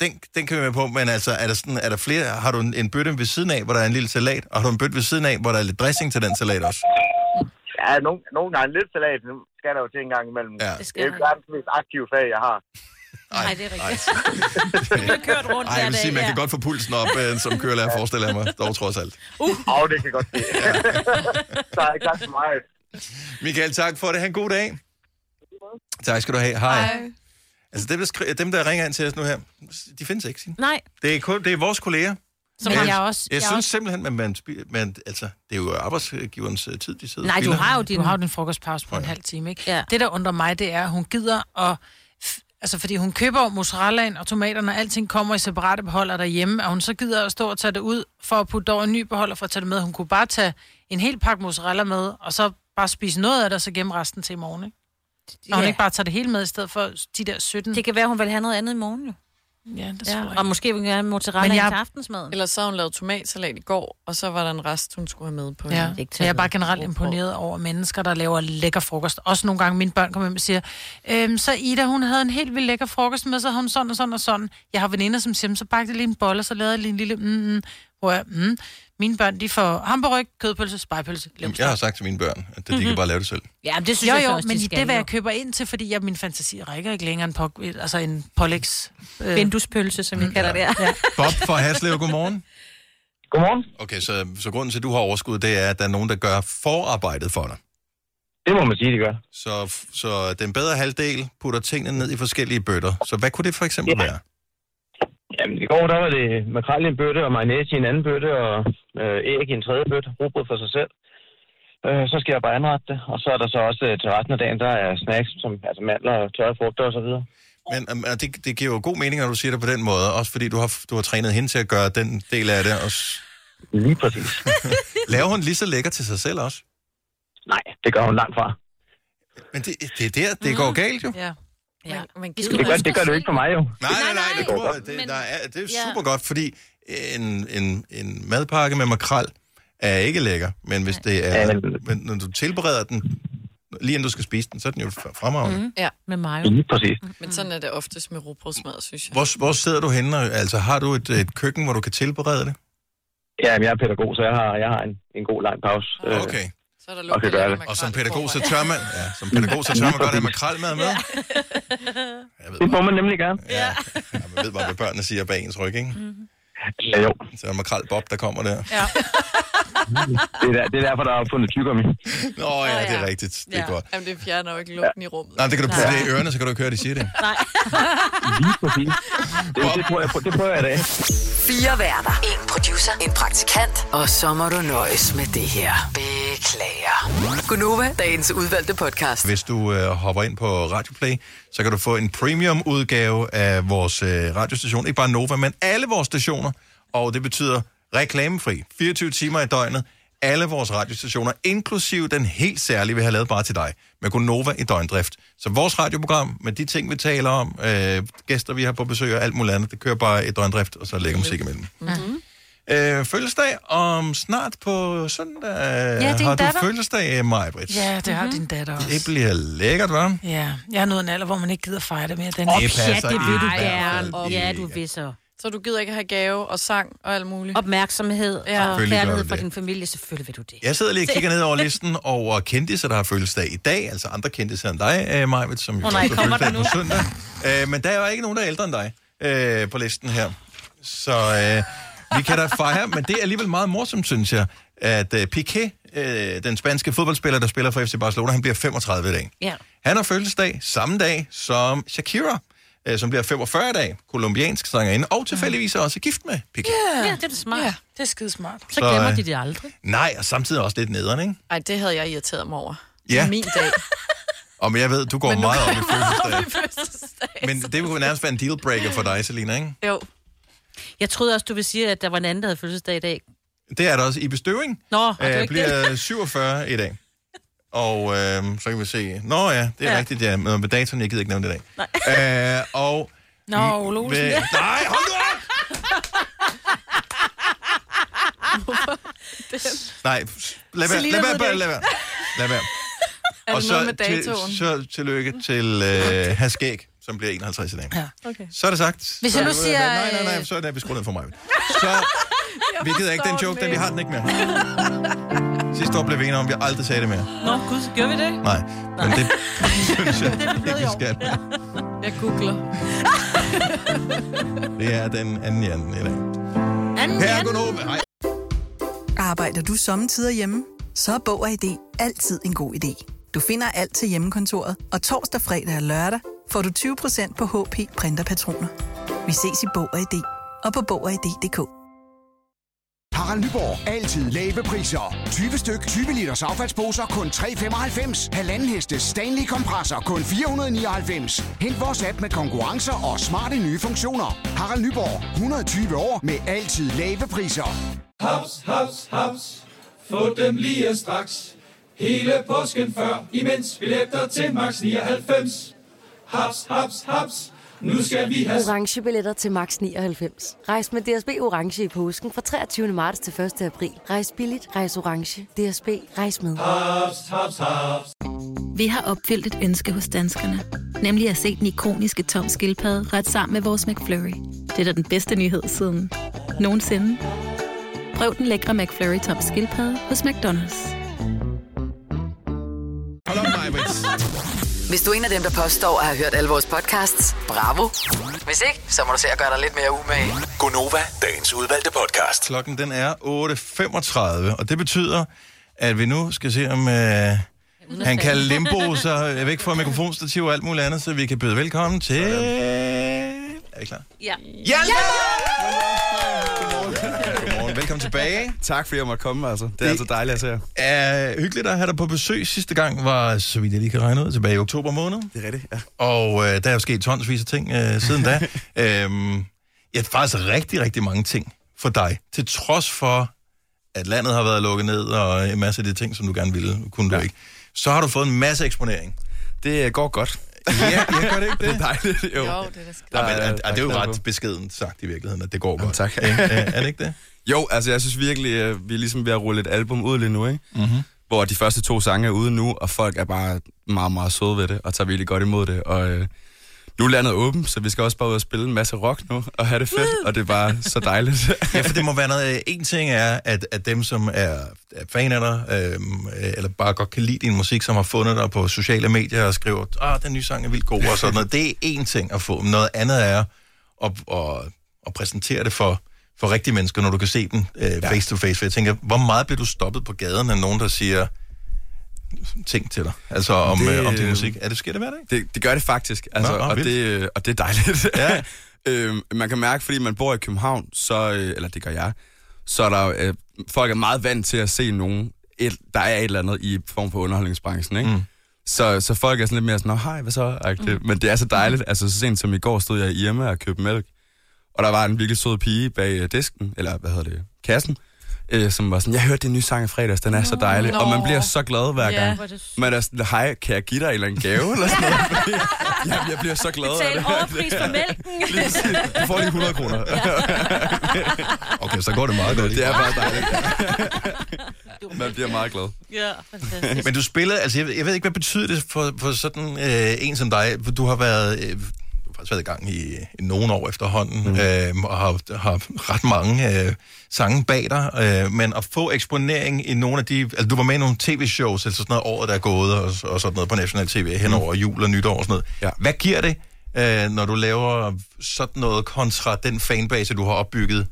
Den, den kan vi være på, men altså, er der, sådan, er der flere? Har du en, en bøtte ved siden af, hvor der er en lille salat, og har du en bøtte ved siden af, hvor der er lidt dressing til den salat også? *laughs*
Ja, nogle, nogle gange lidt salat, nu skal der jo til en gang imellem.
Ja.
Det,
Det
er jo ikke verdens mest aktive fag, jeg har.
Nej, det er rigtigt. *laughs* du har kørt rundt
Nej,
hver
jeg vil
dag.
sige, man kan godt få pulsen op, øh, som kørelærer, forestiller jeg mig, dog trods alt.
Uh. Og det kan godt ske. *laughs* så er ikke så meget.
Michael, tak for det. Ha' en god dag. Tak skal du have. Hej. Hej. Altså, dem der, skri- dem, der ringer ind til os nu her, de findes ikke, Signe.
Nej,
Det er, kun, det er vores kolleger.
Som
Men
har- jeg også-
Jeg,
jeg
synes
også-
simpelthen, at man, spi- man, altså, det er jo arbejdsgiverens øh, tid, de sidder og
Nej, du
spilder.
har jo din, du har jo din frokostpause på en halv time, ikke? Ja. Det, der undrer mig, det er, at hun gider at... f- Altså, fordi hun køber jo mozzarellaen og tomaterne, og alting kommer i separate beholder derhjemme, og hun så gider at stå og tage det ud for at putte over en ny beholder for at tage det med. Hun kunne bare tage en hel pakke mozzarella med, og så Bare spise noget af det, og så gemme resten til i morgen, ikke? Og hun
Ja.
ikke bare tager det hele med, i stedet for de der 17.
Det kan være, hun vil have noget andet i morgen, jo.
Ja, det
Ja, og måske vil hun gerne have mozzarella ind til aftensmaden.
Eller så har hun lavet tomatsalat i går, og så var der en rest, hun skulle have med på.
Ja. Men jeg er bare generelt imponeret over mennesker, der laver lækker frokost. Også nogle gange mine børn kommer hjem og siger, øhm, så Ida, hun havde en helt vildt lækker frokost med, så havde hun sådan og sådan og sådan. Jeg har veninder, som siger, "Men så bagte jeg lige en bolle, og så lavede jeg lige en lille mm, mm, hvor jeg, mm. Mine børn, de får hamburg, kødpølse, spejpølse,
Jamen, jeg har sagt til mine børn, at de mm-hmm. kan bare lave det selv.
Ja,
det synes
jo,
jeg så
jo,
også, de
men
skal,
det er, hvad
jo.
jeg køber ind til, fordi jeg, min fantasi rækker ikke længere en, på, altså en pålægs...
Vinduespølse, som vi kalder Øh. *laughs* det her.
Ja.
Bob fra Haslev, godmorgen.
Godmorgen.
Okay, så, så grunden til, at du har overskud, det er, at der er nogen, der gør forarbejdet for dig.
Det må man sige, det gør.
Så, så den bedre halvdel putter tingene ned i forskellige bøtter. Så hvad kunne det for eksempel ja. være?
Jamen, i går der var det makrel i en bøtte, og mayonnaise i en anden bøtte, og øh, æg i en tredje bøtte, rugbrød for sig selv. Øh, så skal jeg bare anrette det, og så er der så også øh, til resten af dagen, der er snacks, som altså mandler og tørre frugter og så videre.
Men um, det, det giver jo god mening, når du siger det på den måde, også fordi du har, du har trænet hende til at gøre den del af det. Og...
Lige præcis.
Laver hun lige så lækker til sig selv også?
Nej, det gør hun langt fra.
Men det, det er der, det mm. går galt jo.
Ja. ja. Men,
Det gør, det gør det jo ikke for mig jo.
Nej, nej, nej, det, går, det, der er, det er
Ja.
super godt, fordi en, en, en madpakke med makrel er ikke lækker, men hvis det er, men når du tilbereder den, lige inden du skal spise den, så er den jo f- fremragende. Mm.
Ja.
Med mig.
Lige præcis.
Men sådan er det oftest med rugbrødsmad, synes jeg.
Hvor, hvor sidder du henne? og- Altså, har du et, et køkken, hvor du kan tilberede det?
Ja, men jeg er pædagog, så jeg har, jeg har en, en god lang pause. Øh,
Okay.
Så er der
og kan gøre det.
Og som pædagog, så tør man, ja, som pædagog, så tør man godt have makrelmad med.
Det må man nemlig gerne.
Ja. ja, man ved bare, hvad børnene siger bag ens ryg, ikke? Mm-hmm.
Ja, jo.
Så er det makrel Bob, der kommer der.
Ja.
Det er, der, det er derfor, der er opfundet tyggegummi.
Nå ja, det er rigtigt. Det er
ja.
godt.
Jamen, det fjerner jo ikke lugten i rummet.
Nej, det kan du putte det i ørerne, så kan du ikke høre, de siger det.
Nej.
Lige præcis. Det, det, prøver jeg, det prøver jeg da.
Fire værter. En producer. En praktikant. Og så må du nøjes med det her. Beklager. Gunova, dagens udvalgte podcast.
Hvis du øh, hopper ind på Radioplay, så kan du få en premium-udgave af vores øh, radiostation. Ikke bare Nova, men alle vores stationer. Og det betyder reklamefri. 24 timer i døgnet. Alle vores radiostationer, inklusive den helt særlige, vi har lavet bare til dig, med Gonova i døgndrift. Så vores radioprogram, med de ting, vi taler om, øh, gæster, vi har på besøg og alt muligt andet, det kører bare i døgndrift, og så lægger musik imellem.
Mm-hmm.
Øh, fødselsdag om snart på søndag.
Ja, din
har du
datter.
fødselsdag, Majbrit?
Ja, mm-hmm. det har din datter også.
Det bliver lækkert, hva'?
Ja, jeg er nået en alder, hvor man ikke gider fejre det mere. Den
Åh, Det pjat, passer det vil ikke. du Ej, gerne.
Op-
Ja, du vil så.
Så du gider ikke have gave og sang og alt muligt?
Opmærksomhed
ja.
og
Selvfølgelig gør
kærlighed
du
fra
det.
din familie, selvfølgelig vil du det.
Jeg sidder lige og kigger ned over listen over kendtiser, der har fødselsdag i dag. Altså andre kendtiser end dig, øh, Majved, som jo
Åh, nej,
også har
kommer der
fødselsdag på søndag. Øh, men der er jo ikke nogen, der er ældre end dig øh, på listen her. Så øh, vi kan da fejre, men det er alligevel meget morsomt, synes jeg, at øh, Piqué, øh, den spanske fodboldspiller, der spiller for FC Barcelona, han bliver 35 i dag.
Ja.
Han har fødselsdag samme dag som Shakira, øh, som bliver 45 i dag, kolumbiansk sangerinde, og tilfældigvis er også gift med Piqué.
Ja, det er da smart. Ja, det er skide smart.
Så Så, glemmer øh, de
det aldrig.
Nej, og samtidig også lidt nederen, ikke?
Ej, det havde jeg irriteret mig over.
Ja.
Min *laughs* dag.
Og men jeg ved, du går meget op i fødselsdag.
fødselsdag.
Men det kunne nærmest være en dealbreaker for dig, Selina, ikke?
Jo.
Jeg troede også, du ville sige, at der var en anden, der havde fødselsdag i dag.
Det er der også i bestøving.
Nå, og det er ikke
bliver 47 i dag. Og øh, så kan vi se... Nå ja, det er ja. rigtigt, ja. Men med datoen, jeg gider ikke nævne det i dag. Nej. Øh, og...
Nå, Ole Olsen.
Ved- Nej, hold nu op! Nej, lad være,
Selina ved
lad være,
det
bare,
ikke.
lad være. Lad være.
Er det noget med datoen?
til, så tillykke til øh, Haskæg, som bliver 51 i dag. Ja.
Okay.
Så er det sagt.
Hvis
så,
jeg nu
øh,
siger,
Nej, nej, nej,
øh,
så er det, at vi skruer ned for mig. Så, vi gider ikke den joke, den vi har den ikke mere. Sidste år blev vi enige om, at vi aldrig sagde det mere.
Nå, gud, gør vi det?
Nej, men det *laughs* synes jeg ikke, vi skal.
Jeg googler.
Det er den anden januar i dag.
Anden
Her går Nova. Hej.
Arbejder du sommetider hjemme? Så er Bog og ID altid en god idé. Du finder alt til hjemmekontoret, og torsdag, fredag og lørdag får du 20% på HP Printerpatroner. Vi ses i Bog og ID og på Bog og ID.dk.
Harald Nyborg. Altid lave priser. 20 styk, 20 liters affaldsposer kun 3,95. Halvanden heste Stanley kompresser kun 499. Hent vores app med konkurrencer og smarte nye funktioner. Harald Nyborg. 120 år med altid lave priser.
Haps, haps, haps. Få dem lige straks. Hele påsken før, imens billetter til max 99. Haps, haps, haps. Nu skal vi have
orange billetter til max 99. Rejs med DSB orange i påsken fra 23. marts til 1. april. Rejs billigt, rejs orange. DSB rejs med.
Haps, haps, haps.
Vi har opfyldt et ønske hos danskerne. Nemlig at se den ikoniske tom skildpadde ret sammen med vores McFlurry. Det er da den bedste nyhed siden nogensinde. Prøv den lækre McFlurry tom skildpadde hos McDonald's.
Hold op, Majbrits.
Hvis du er en af dem, der påstår at have hørt alle vores podcasts, bravo. Hvis ikke, så må du se at gøre dig lidt mere umage.
Gonova, dagens udvalgte podcast. Klokken den er 8.35, og det betyder, at vi nu skal se, om øh, han kan limbo sig væk fra mikrofonstativ og alt muligt andet, så vi kan byde velkommen til... Er I klar?
Ja.
Godmorgen, velkommen tilbage.
Tak fordi jeg måtte komme, altså. Det er altså dejligt at se jer.
er hyggeligt at have dig på besøg. Sidste gang var, så vidt jeg lige kan regne ud, tilbage i oktober måned.
Det er rigtigt, ja.
Og øh, der er jo sket tonsvis af ting øh, siden da.
*laughs*
øhm, ja, faktisk rigtig, rigtig mange ting for dig. Til trods for, at landet har været lukket ned, og en masse af de ting, som du gerne ville, kunne ja. du ikke. Så har du fået en masse eksponering.
Det går godt.
Ja, jeg gør det ikke det.
Det er dejligt, jo. Jo, det
er
der
der, men,
er-
er, er,
der er
det er jo
knald på.
ret beskedent sagt i virkeligheden, at det går godt.
tak. *laughs*
Ikke? Øh, er det ikke det?
Jo, altså jeg synes virkelig, at vi er ligesom ved at rulle et album ud lige nu, ikke?
Mhm.
Hvor de første to sange er ude nu, og folk er bare meget, meget søde ved det, og tager virkelig godt imod det. Og øh, nu er landet åbent, så vi skal også bare ud og spille en masse rock nu, og have det fedt, og det er bare så dejligt.
Ja, for det må være noget. Øh, En ting er, at, at dem, som er, er fan af dig, øhm, øh, eller bare godt kan lide din musik, som har fundet dig på sociale medier og skriver, ah, den nye sang er vildt god og sådan noget. Det er en ting at få. Noget andet er at, at, at præsentere det for, for rigtige mennesker, når du kan se dem øh, face to face. For jeg tænker, hvor meget bliver du stoppet på gaden af nogen, der siger ting til dig? Altså om, det... øh, om din musik. Er det, sker det hver dag?
Det, det gør det faktisk, altså,
Nå,
nå,
nå,
nå, og,
vildt.
det, øh, og det er dejligt. *laughs* Ja. øhm, man kan mærke, fordi man bor i København, så, øh, eller det gør jeg, så er der, øh, folk er meget vant til at se nogen, et, der er et eller andet i form for underholdningsbranchen, ikke? Mm. Så, så folk er sådan lidt mere sådan, nå hej, hvad så? Mm. Men det er så dejligt, altså så sent som i går stod jeg i Irma og købte mælk, og der var en virkelig sød pige bag øh, disken, eller hvad hedder det, kassen, øh, som var sådan, jeg hørte din nye sang i fredags, den er så dejlig,
Nå.
og man bliver så glad hver
Ja,
gang.
hvor er det
Man er sådan, hej, kan jeg give dig en eller anden gave? Eller sådan noget? Jamen, *laughs* jeg bliver så glad af
Betal
det.
overpris for mælken.
Lige præcis. Du får lige 100 kroner. *laughs*
okay, så går det meget godt.
Det er bare dejligt. Man bliver meget glad.
Ja, fantastisk.
*laughs* Men du spillede, altså jeg, jeg ved ikke, hvad betyder det for, for sådan øh, en som dig? Du har været, øh, du har faktisk været i gang i, i nogle år efterhånden, mm. øh, og har, har ret mange øh, sange bag dig, øh, men at få eksponering i nogle af de, altså du var med i nogle tv-shows, altså sådan noget året, der er gået, og, og sådan noget på national tv hen over jul og nytår og sådan noget. Mhm. Ja. Hvad giver det, øh, når du laver sådan noget kontra den fanbase, du har opbygget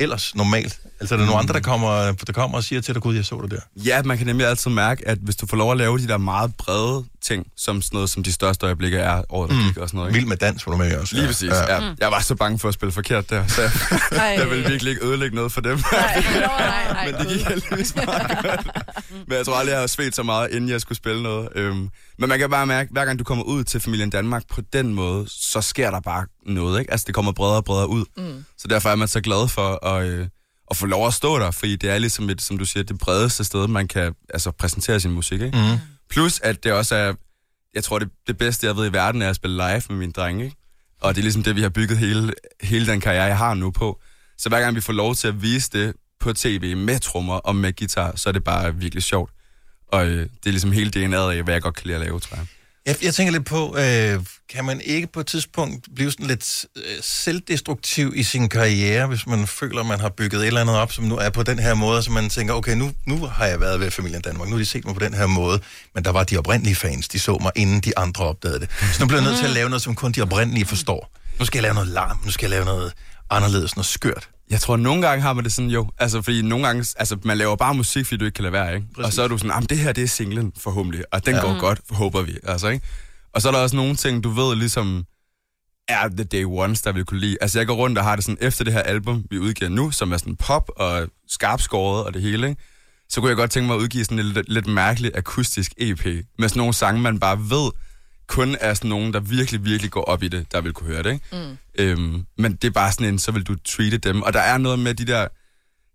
ellers normalt? Altså er der mm. nogle andre, der kommer, der kommer og siger til dig, gud, jeg så dig der?
Ja, man kan nemlig altid mærke, at hvis du får lov at lave de der meget brede ting, som sådan noget, som de største øjeblikke er året, der
Mm.
gik og sådan noget. Ikke?
Vild med dans, var du med i også.
Lige
Ja.
præcis,
Ja.
ja.
Mm.
Jeg var så bange for at spille forkert der, så jeg,
*laughs* Ej.
*laughs* jeg ville virkelig ikke ødelægge noget for dem. *laughs*
Men det gik heldigvis
Men jeg tror aldrig, jeg har svedt så meget, inden jeg skulle spille noget. Øhm, men man kan bare mærke, hver gang du kommer ud til familien Danmark på den måde, så sker der bare noget, ikke? Altså, det kommer bredere og bredere ud. Mm. Så derfor er man så glad for at, øh, at få lov at stå der, fordi det er ligesom, et, som du siger, det bredeste sted, man kan altså, præsentere sin musik, ikke?
Mm.
Plus, at det også er, jeg tror, det, det bedste, jeg ved i verden, er at spille live med mine drenge, ikke? Og det er ligesom det, vi har bygget hele, hele den karriere, jeg har nu på. Så hver gang vi får lov til at vise det på tv med trommer og med guitar, så er det bare virkelig sjovt. Og øh, det er ligesom hele DNA'et af, hvad jeg godt kan lide at lave, tror jeg.
Jeg, jeg tænker lidt på, øh, kan man ikke på et tidspunkt blive sådan lidt øh, selvdestruktiv i sin karriere, hvis man føler, man har bygget et eller andet op, som nu er på den her måde, så man tænker, okay, nu, nu har jeg været ved familien Danmark, nu har de set mig på den her måde, men der var de oprindelige fans, de så mig, inden de andre opdagede det. Så nu bliver jeg nødt til at lave noget, som kun de oprindelige forstår. Nu skal jeg lave noget larm, nu skal jeg lave noget anderledes, noget skørt.
Jeg tror, nogle gange har man det sådan, jo. Altså, fordi nogle gange, altså, man laver bare musik, fordi du ikke kan lade være, ikke? Præcis. Og så er du sådan, jamen, det her, det er singlen, forhåbentlig. Og den
Ja.
ja. går
Mm.
godt, håber vi, altså, ikke? Og så er der også nogle ting, du ved ligesom, er the day ones, der vil kunne lide. Altså, jeg går rundt og har det sådan, efter det her album, vi udgiver nu, som er sådan pop og skarpskåret og det hele, ikke? Så kunne jeg godt tænke mig at udgive sådan en lidt, lidt mærkelig akustisk EP, med sådan nogle sange, man bare ved, kun er sådan nogen, der virkelig, virkelig går op i det, der vil kunne høre det, ikke?
Mm.
Øhm, men det er bare sådan en, så vil du treate dem. Og der er noget med de der,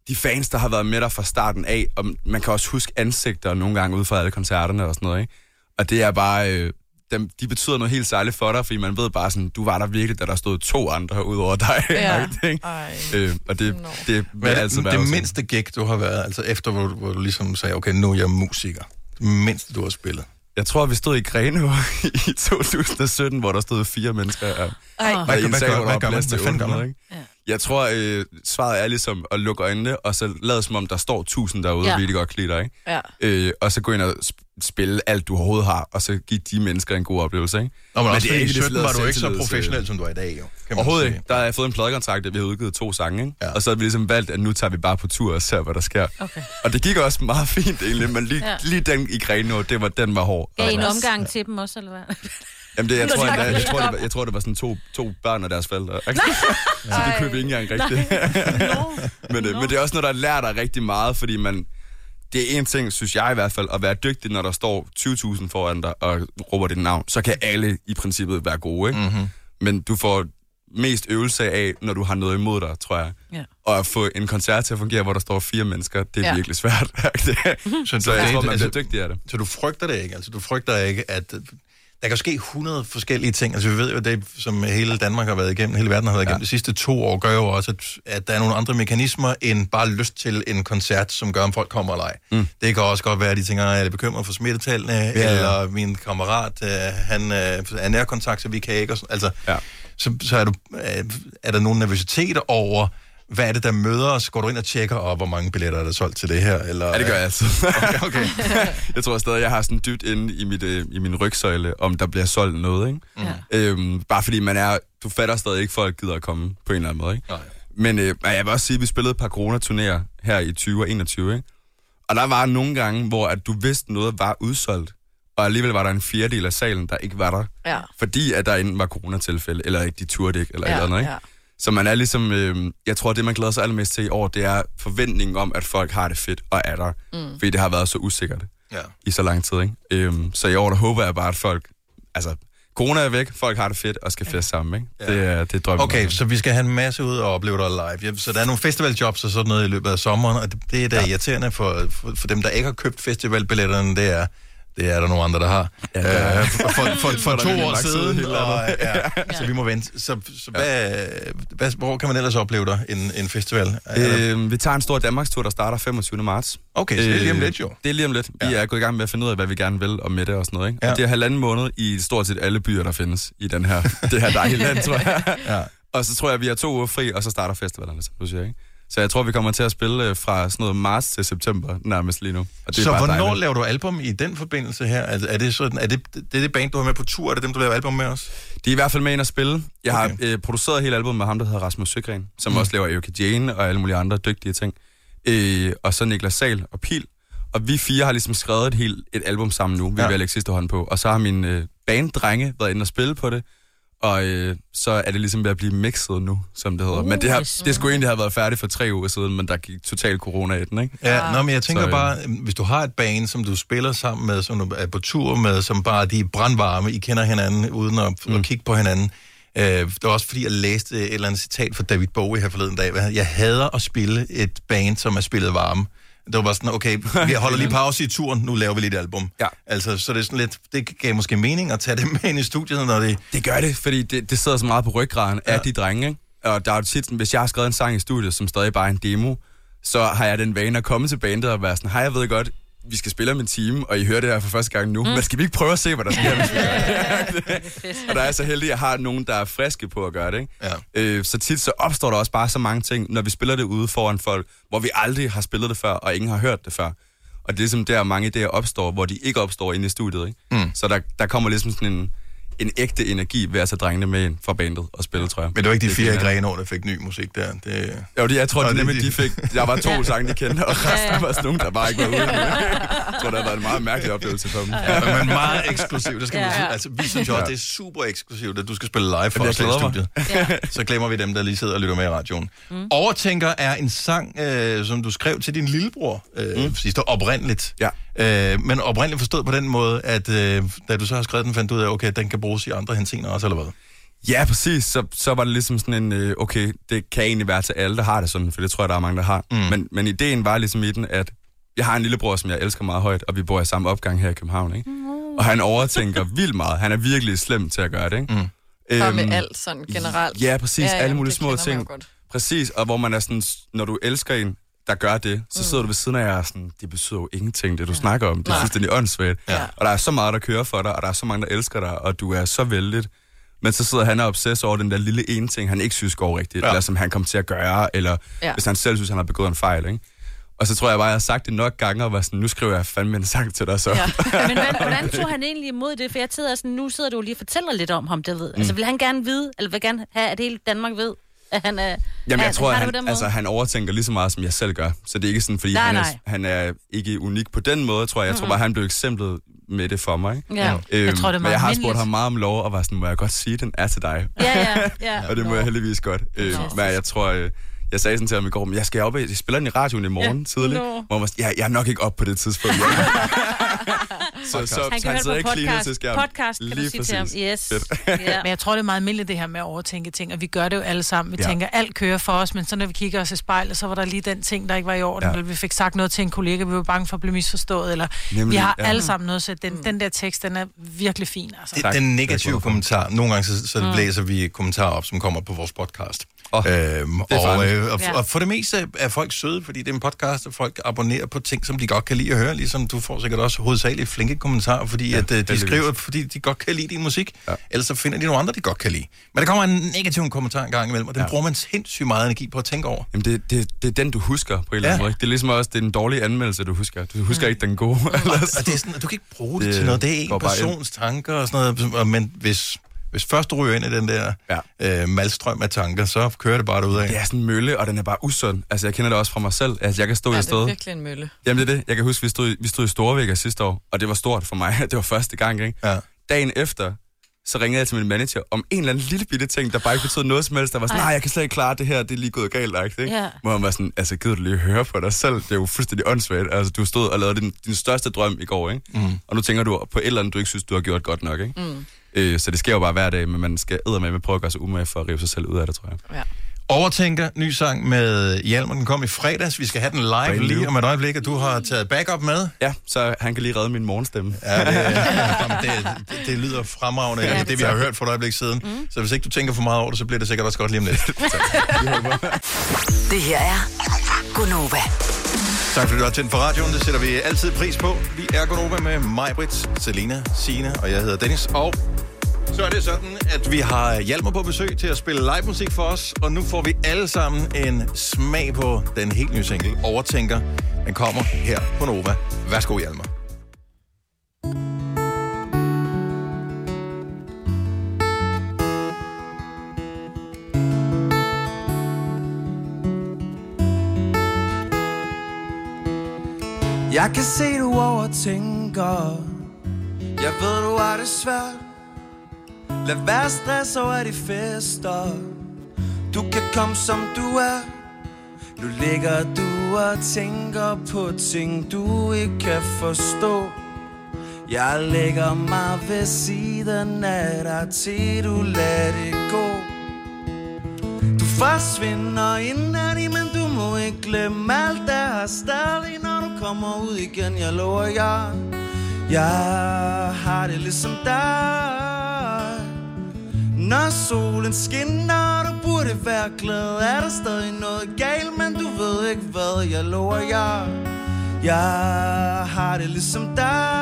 de fans, der har været med dig fra starten af, og man kan også huske ansigter nogle gange ude fra alle koncerterne og sådan noget, ikke? Og det er bare, øh, dem, de betyder noget helt særligt for dig, fordi man ved bare sådan, du var der virkelig, da der stod to andre ud over dig. *laughs*
Ja.
ikke? Øh, og det, det vil
Hvad
altid være
er det, det
altså sådan.
mindste gig, du har været, altså efter, hvor du, hvor du ligesom sagde, okay, nu er jeg musiker. Det mindste, du har spillet.
Jeg tror, vi stod i Grenå *laughs* i 2017, hvor der stod fire mennesker. Og,
Ej.
og
Hvad gør-
en
hvad
sag,
gør-
hvor der
hvad
var
gør man?
plads til
Hvad fanden gør
800,
man?
ikke? Jeg tror, øh, svaret er ligesom at lukke øjnene, og så lade som om, der står tusind derude,
Ja.
ja. og virkelig godt kan lide dig, ikke?
Ja.
Øh, og så gå ind og sp- spille alt, du overhovedet har, og så give de mennesker en god oplevelse, ikke?
Nå, men, men også
er
fordi i
ikke det
17 var du ikke så
selvtillids, øh,
professionel, som du er i dag, jo. Kan man
Overhovedet
sige.
ikke. Der har jeg fået en pladekontrakt, at vi har udgivet to sange, ikke? Ja. Og så har vi ligesom valgt, at nu tager vi bare på tur og ser, hvad der sker. Okay. Og det gik også meget *laughs* fint egentlig, men lige,
Ja.
ja. lige den i Grenå, det var, den var hård.
Gav I en
Altså,
omgang til dem også, eller hvad?
Jamen det, jeg,
Nå,
tror,
tak.
jeg, jeg, jeg, tror, det var, jeg tror, det var sådan to, to børn og deres forældre. så det købte vi ikke engang rigtigt. men, øh, men det er også noget, der lærer dig rigtig meget, fordi man... Det er en ting, synes jeg i hvert fald, at være dygtig, når der står 20.000 foran dig og råber dit navn. Så kan alle i princippet være gode, ikke? Mm-hmm. Men du får mest øvelse af, når du har noget imod dig, tror jeg.
Ja.
Og at få en koncert til at fungere, hvor der står fire mennesker, det er
Ja.
ja. virkelig svært. *laughs* så, så jeg tror, man
altså-
bliver dygtig af det.
Så du frygter det ikke? Altså, du frygter ikke, at... øh, Der kan ske 100 forskellige ting. Altså, vi ved jo, at det, som hele Danmark har været igennem, hele verden har været igennem ja. de sidste to år, gør jo også, at, at der er nogle andre mekanismer end bare lyst til en koncert, som gør, om folk kommer eller ej. Mm. Det kan også godt være, at de tænker, at jeg er bekymret for smittetallene, ja,
ja.
ja. eller min kammerat, øh, han øh, er nærkontakt, så vi kan ikke. Og sådan. Altså, ja. så, så er, du, øh, er der nogle nervøsiteter over, hvad er det, der møder os? Går du ind og tjekker, og hvor mange billetter er der solgt til det her? Eller,
Ja, det gør jeg altid.
Okay, *laughs* okay.
*laughs* jeg tror stadig, jeg har sådan dybt inde i, mit, øh, i min rygsøjle, om der bliver solgt noget, ikke?
Ja.
Øhm, bare fordi man er... Du fatter stadig ikke, folk gider at komme på en eller anden måde, ikke?
Nej.
Men øh, men jeg vil også sige, at vi spillede et par coronaturnéer her i 20 og 21, ikke? Og der var nogle gange, hvor at du vidste, noget var udsolgt, og alligevel var der en fjerdedel af salen, der ikke var der.
Ja.
Fordi at der enten var coronatilfælde, eller ikke de turde ikke, eller
Ja,
ja, eller andet, ikke?
ja.
Ja. Så man er ligesom, øh, jeg tror, det man glæder sig allermest til i år, det er forventningen om, at folk har det fedt og er der.
Mm.
Mm. Fordi det har været så usikkert
ja.
i så lang tid, ikke? Øhm, så i år, der håber jeg bare, at folk, altså, corona er væk, folk har det fedt og skal feste sammen, ikke? Ja. Det er, det er drømmen.
Okay, så vi skal have en masse ud og opleve dig live. Ja, Så der er nogle festivaljobs og sådan noget i løbet af sommeren, og det, det er da ja. irriterende for, for, for dem, der ikke har købt festivalbilletterne, det er, det er der nogle andre, der har. Ja, øh, for for, for,
Så
for
er *laughs* der
to
virkelig
år
lagt siden
siden,
helt
og,
andet. *laughs*
ja, så vi må vente. Så, så hvad, hvad, hvor kan man ellers opleve dig en, en festival?
Øhm, vi tager en stor Danmarkstur, der starter 25. marts. Øh,
Okay, så det er lige om lidt, jo.
Det er lige om lidt. Vi er gået i gang med at finde ud af, hvad vi gerne vil og med det og sådan noget. Ikke? Ja. Og det er halvanden måned i stort set alle byer, der findes i den her, *laughs* det her dejlige land, tror jeg.
*laughs* Ja.
Og så tror jeg, vi har to uger fri, og så starter festivalerne, som du siger. Ikke? Så jeg tror, vi kommer til at spille øh, fra sådan noget marts til september nærmest lige nu. Og det er
så
bare
hvornår
dejligt.
laver du album i den forbindelse her? Altså, er det, sådan, er det, det, er det band, du har med på tur? Er det dem, du laver album med os?
De er i hvert fald med ind at spille. Jeg har øh, produceret hele albumet med ham, der hedder Rasmus Søgren, som
Mm.
også laver Erika Jane og alle mulige andre dygtige ting. Øh, og så Niklas Sal og Pil. Og vi fire har ligesom skrevet et, helt, et album sammen nu, vi ja. vil lægge sidste hånd på. Og så har min øh, banddrenge været inde og spille på det. Og øh, så er det ligesom ved at blive mixet nu, som det hedder.
Uh,
Uh, men det, har,
det er smart.
det skulle egentlig have været færdigt for tre uger siden, men der gik total corona i den, ikke?
Ja, nå, men jeg tænker
Så, øh,
bare, øhm, hvis du har et band, som du spiller sammen med, som du er på tur med, som bare de er brandvarme, I kender hinanden uden at, mm. at kigge på hinanden. Øh, det var også fordi, jeg læste et eller andet citat fra David Bowie her forleden dag. hvor han- Jeg hader at spille et band, som er spillet varme. Det var bare sådan, okay, vi holder lige pause i turen, nu laver vi lidt album.
Ja.
Altså, så det er sådan lidt, det gav måske mening at tage det med ind i studiet, når det...
Det gør det, fordi det, det sidder så meget på ryggraden ja. af de drenge. Ikke? Og der er jo tit sådan, hvis jeg har skrevet en sang i studiet, som stadig bare er en demo, så har jeg den vane at komme til bandet og være sådan, hej, jeg ved godt, vi skal spille om en time, og I hører det her for første gang nu, mm. men skal vi ikke prøve at se, hvad der sker, hvis vi gør *laughs* det? og der er jeg så heldig, at jeg har nogen, der er friske på at gøre det. Ikke? Ja. Øh, så tit så opstår der også bare så mange ting, når vi spiller det ude foran folk, hvor vi aldrig har spillet det før, og ingen har hørt det før. Og det er ligesom der, mange idéer opstår, hvor de ikke opstår inde i studiet. Ikke?
Mm.
Så der, der kommer ligesom sådan en, en ægte energi ved at tage drengene med ind fra bandet og spille, tror jeg.
Men det var ikke de fire i
finder jeg.
Grenå, der fik ny musik der. Det...
Jo, det, jeg tror,
Nå,
det
det er
nemlig,
de-
de fik... Der var to sange, de kendte, og resten var sådan nogle, der bare ikke var ude. endnu. Jeg tror, det har været en meget mærkelig oplevelse for dem.
Øhm, Ja, men meget eksklusivt. Det skal ja.
Ja.
man sige. Altså, vi synes jo også,
Ja.
det er super eksklusivt, at du skal spille live for
Jamen, jeg
os her i
glæder
studiet. Så glemmer vi dem, der lige sidder og lytter med i radioen. Mm. Overtænker er en sang, øh, som du skrev til din lillebror øh, mm. sidste år, oprindeligt. Ja. Øh, men oprindeligt forstået på den måde, at øh, da du så har skrevet den, fandt du ud af, okay, den kan bruges i andre hensener også, eller hvad?
Ja, præcis. Så, så var det ligesom sådan en, øh, okay, det kan egentlig være til alle, der har det sådan, for det tror jeg, der er mange, der har. Mm. Men, men ideen var ligesom i den, at jeg har en lillebror, som jeg elsker meget højt, og vi bor i samme opgang her i København, ikke? Mm. Og han overtænker vildt meget. Han er virkelig slem til at gøre det, ikke? Mm.
Bare med alt sådan generelt.
Ja, præcis. Ja,
Ja,
ja,
ja,
alle mulige
det
små
kender man jo
ting.
godt.
Præcis, og hvor man er sådan, s- når du elsker en, der gør det, så
Mm.
sidder du ved siden af jer og er sådan, det betyder jo ingenting, det du ja. snakker om. Det er
Nej.
fuldstændig åndssvagt.
Ja.
Og der er så meget, der kører for dig, og der er så mange, der elsker dig, og du er så vældig. Men så sidder han og er obsess over den der lille ene ting, han ikke synes går rigtigt, ja. eller som han kommer til at gøre, eller
Ja.
ja. hvis han selv synes, han har begået en fejl, ikke? Og så tror jeg bare, jeg har sagt det nok gange, og var sådan, nu skriver jeg fandme en sang til dig så. Ja.
*laughs* Men hvordan, hvordan tog han egentlig imod det? For jeg sidder sådan, nu sidder du lige og fortæller lidt om ham, det ved. Mm. Altså, vil han gerne vide, eller vil gerne have, at hele Danmark ved, at han er...
Jamen, jeg tror, at
har det på
han,
den måde?
altså, han overtænker lige så meget, som jeg selv gør. Så det er ikke sådan, fordi
Nej,
han, Er,
nej.
han er ikke unik på den måde, tror jeg. Jeg tror
Mm-mm.
bare, han blev eksemplet med det for mig. ikke? Øhm,
Ja. Jeg tror, det er
men
meget
jeg har
almindeligt.
spurgt ham meget om lov, og var sådan, må jeg godt sige, den er til dig?
Ja, ja,
*laughs*
ja.
og det må jeg heldigvis godt. Øh,
Fantastisk.
men jeg tror, øh, jeg sagde sådan til ham i går, men jeg skal op, jeg spiller den i radioen i morgen
Ja.
ja. tidligt.
Nå.
Hvor han var sådan, ja, jeg er nok ikke op på det
*laughs*
tidspunkt. så, så,
han
så
kan
han
høre
sidder
det
ikke
på
cleanet
podcast.
til skærmen.
podcast kan
Lige
du sige
præcis.
til ham. Yes.
Fedt. *laughs*
ja. Men jeg tror, det er meget almindeligt det her med at overtænke ting, og vi gør det jo alle sammen. Vi
Ja.
ja. tænker, alt kører for os, men så når vi kigger os i spejlet, så var der lige den ting, der ikke var i orden,
Ja.
ja. eller vi fik sagt noget til en kollega, vi var bange for at blive misforstået, eller Nemlig, vi
Nemlig,
har
ja.
ja. alle sammen noget, så
Mm.
den, den der tekst, den er virkelig fin. Altså.
Det, den negative kommentar. Nogle gange så, så
Mm.
mm. læser vi kommentarer op, som kommer på vores podcast.
Oh,
øhm,
det er
og,
farligt.
øh, og,
Ja.
og for det meste er folk søde, fordi det er en podcast, og folk abonnerer på ting, som de godt kan lide at høre. Ligesom du får sikkert også hovedsageligt flinke kommentarer, fordi ja, at, øh, de
heldigvis.
skriver, fordi de godt kan lide din musik. Ja. Ellers så finder de nogle andre, de godt kan lide. Men der kommer en negativ kommentar en gang imellem, og den ja. bruger man sindssygt meget energi på at tænke over.
Jamen, det, det, det er den, du husker på en eller anden
Ja.
måde. ikke? Det er ligesom også, det er den dårlige anmeldelse, du husker. Du
Mm.
husker ikke den gode. ellers.
Og det er sådan, at du kan ikke bruge det,
Det
det til noget. Det er
går
en
bare ind.
persons tanker og sådan noget. og- Men hvis, hvis først du ryger ind i den der ja. øh, malstrøm af tanker, så kører det bare derudad.
Det er sådan en mølle, og den er bare usund. Altså, jeg kender det også fra mig selv. Altså, jeg kan stå
Ja,
i
det er
stedet.
virkelig en mølle.
Jamen, det er det. Jeg kan huske, vi stod, i- vi stod i Storvækker sidste år, og det var stort for mig. *laughs* Det var første gang, ikke?
Ja.
Dagen efter, så ringede jeg til min manager om en eller anden lille bitte ting, der bare ikke betød noget som helst. Der var sådan,
Ej.
nej, jeg kan slet ikke klare det her, det er lige gået galt, ikke?
Ja.
Hvor han var sådan, altså, gider du lige høre på dig selv? Det er jo fuldstændig åndssvagt. Altså, du stod og lavede din, din største drøm i går, ikke?
Mm.
Og nu tænker du på et eller andet, du ikke synes, du har gjort godt nok, ikke?
Mm.
Øh, så det sker jo bare hver dag, men man skal med at prøve at gøre sig umage for at rive sig selv ud af det, tror jeg.
Overtænker, ny sang med Hjalmar. Den kom i fredags. Vi skal have den live
Brand new.
lige om et øjeblik, og du har taget backup
*laughs*
med.
Ja, så han kan lige redde min morgenstemme.
Ja, det, jamen, det, det, det lyder fremragende. Ja, det, det, vi har hørt for et øjeblik siden. Mm. Så hvis ikke du tænker for meget over det, så bliver det sikkert også godt lige
*laughs*
om lidt.
Det her er Gunova.
Tak fordi du har tændt for radioen. Det sætter vi altid pris på. Vi er Gonova med mig, Britt, Selina, Sine og jeg hedder Dennis. Og så er det sådan, at vi har Hjalmar på besøg til at spille live musik for os. Og nu får vi alle sammen en smag på den helt nye single, Overtænker. Den kommer her på Nova. Værsgo, Hjalmar.
Jeg kan se, du overtænker Jeg ved, du har det svært Lad være stress over de fester Du kan komme, som du er Nu ligger du og tænker på ting, du ikke kan forstå Jeg lægger mig ved siden af dig Til du lader det gå du forsvinder indeni, men du må ikke glemme alt, der er stadig, når du kommer ud igen. Jeg lover jer, jeg har det ligesom dig. Når solen skinner, du burde være glad, er der stadig noget galt, men du ved ikke hvad. Jeg lover jer, jeg har det ligesom dig.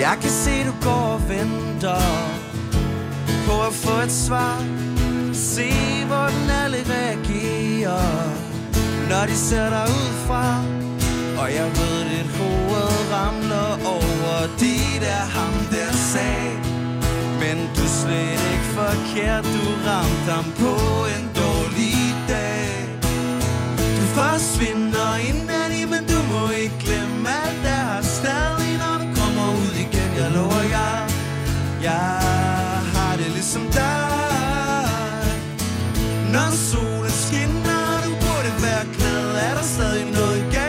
Jeg kan se, du går og venter på at få et svar. Se, hvordan alle reagerer, når de ser dig udefra. Og jeg ved, dit hoved ramler over dit er ham, der sag. Men du er slet ikke forkert, du ramte ham på en dårlig dag. Du forsvinder indeni, men du må ikke glemme alt, der er stadig, når du kommer ud igen. Jeg lover jer, jeg har det ligesom dig. Når solen skinner, du burde være glad, er der stadig noget galt.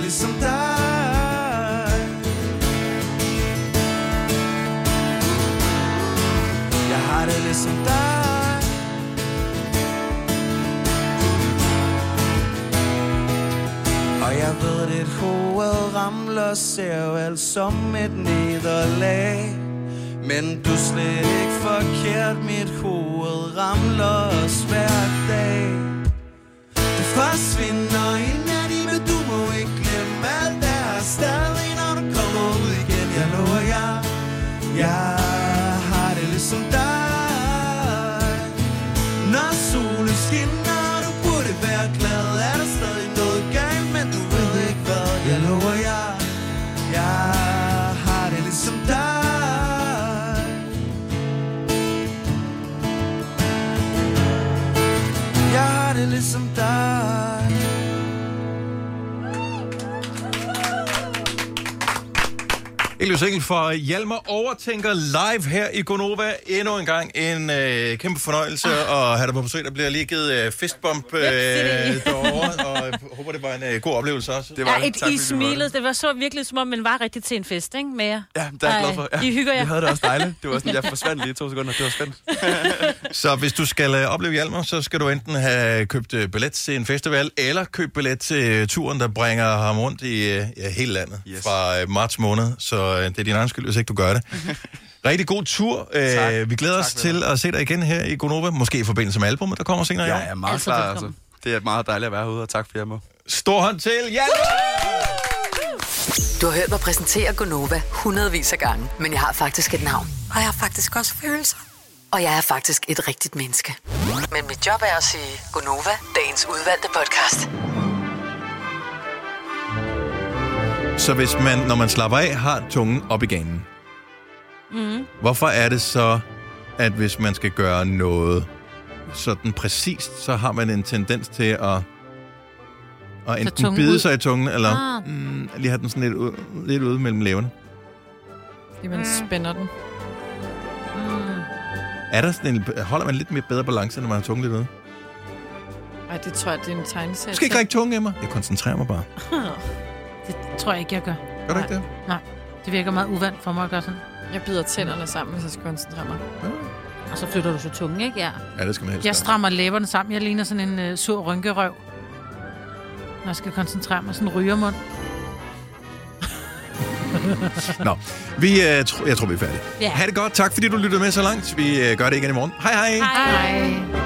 ligesom som ligesom dig Og jeg ved, dit hoved ramler Ser jo alt som et nederlag Men du er slet ikke forkert Mit hoved ramler os hver dag Det forsvinder i nat i, Men du må ikke glemme alt der er stadig Når du kommer ud igen Jeg lover jer jeg har det ligesom dig Når solen skinner, du burde være glad Er der stadig noget galt, men du ved ikke hvad Jeg lover jeg, jeg har det ligesom dig Jeg har det ligesom dig
Elias Engel fra Hjalmar Overtænker live her i Gonova. Endnu en gang en øh, kæmpe fornøjelse
Ah.
at have dig på besøg. Der bliver lige givet øh, fistbump øh, derovre, og jeg håber, det var en øh, god oplevelse også.
Det var ja, et I smilede. Det var så virkelig, som om man var rigtig til en fest, ikke? Med jer.
Ja, det er jeg glad for. Ja.
I hygger jer.
Vi havde det
*laughs*
også dejligt. Det var sådan, jeg forsvandt lige i to sekunder. Det var spændt.
Så hvis du skal øh, opleve Hjalmar, så skal du enten have købt øh, billet til en festival, eller købt billet til øh, turen, der bringer ham rundt i øh, ja, hele landet yes. fra øh, marts måned. Så øh, det er din egen skyld, hvis ikke du *laughs* gør det. Rigtig god tur. Øh, vi glæder tak, os til at se dig igen her i Gonova. Måske i forbindelse med albumet, der kommer senere i år.
Jeg er meget altså, klar, altså. Det er meget dejligt at være herude, og tak for jer må.
Stor hånd til Hjalmar!
Du har hørt mig præsentere Gonova hundredvis af gange, men jeg har faktisk et navn.
Og jeg har faktisk også følelser.
Og jeg er faktisk et rigtigt menneske. Men mit job er at sige Gonova, dagens udvalgte podcast.
Så hvis man, når man slapper af, har tungen op i ganen,
Mm.
hvorfor er det så, at hvis man skal gøre noget sådan præcist, så har man en tendens til at, at enten
tungen
bide
ud.
sig i tungen, eller
Ah.
mm, lige have den sådan lidt, ud, lidt ude mellem læverne?
Fordi man spænder den.
Er der sådan en, holder man lidt mere bedre balance, når man har tungen lidt ude?
Ej, det tror jeg, det er en tegneserie.
Du skal ikke række tungen, Emma. Jeg koncentrerer mig bare.
Det tror jeg ikke, jeg gør.
Gør du ikke det?
Nej, det virker meget uvandt for mig at gøre sådan.
Jeg bider tænderne sammen, hvis jeg skal koncentrere mig.
Og så flytter du så tungen, ikke? Ja.
Ja, det skal man helst
Jeg
gøre.
strammer læberne sammen. Jeg ligner sådan en uh, sur rynkerøv. Når jeg skal koncentrere mig. Sådan en rygermund.
Nå, vi, øh, tro, jeg tror, vi er færdige.
Ja.
Ha' det godt. Tak, fordi du lyttede med så langt. Vi øh, gør det igen i morgen. Hej hej.
Hej.
hej.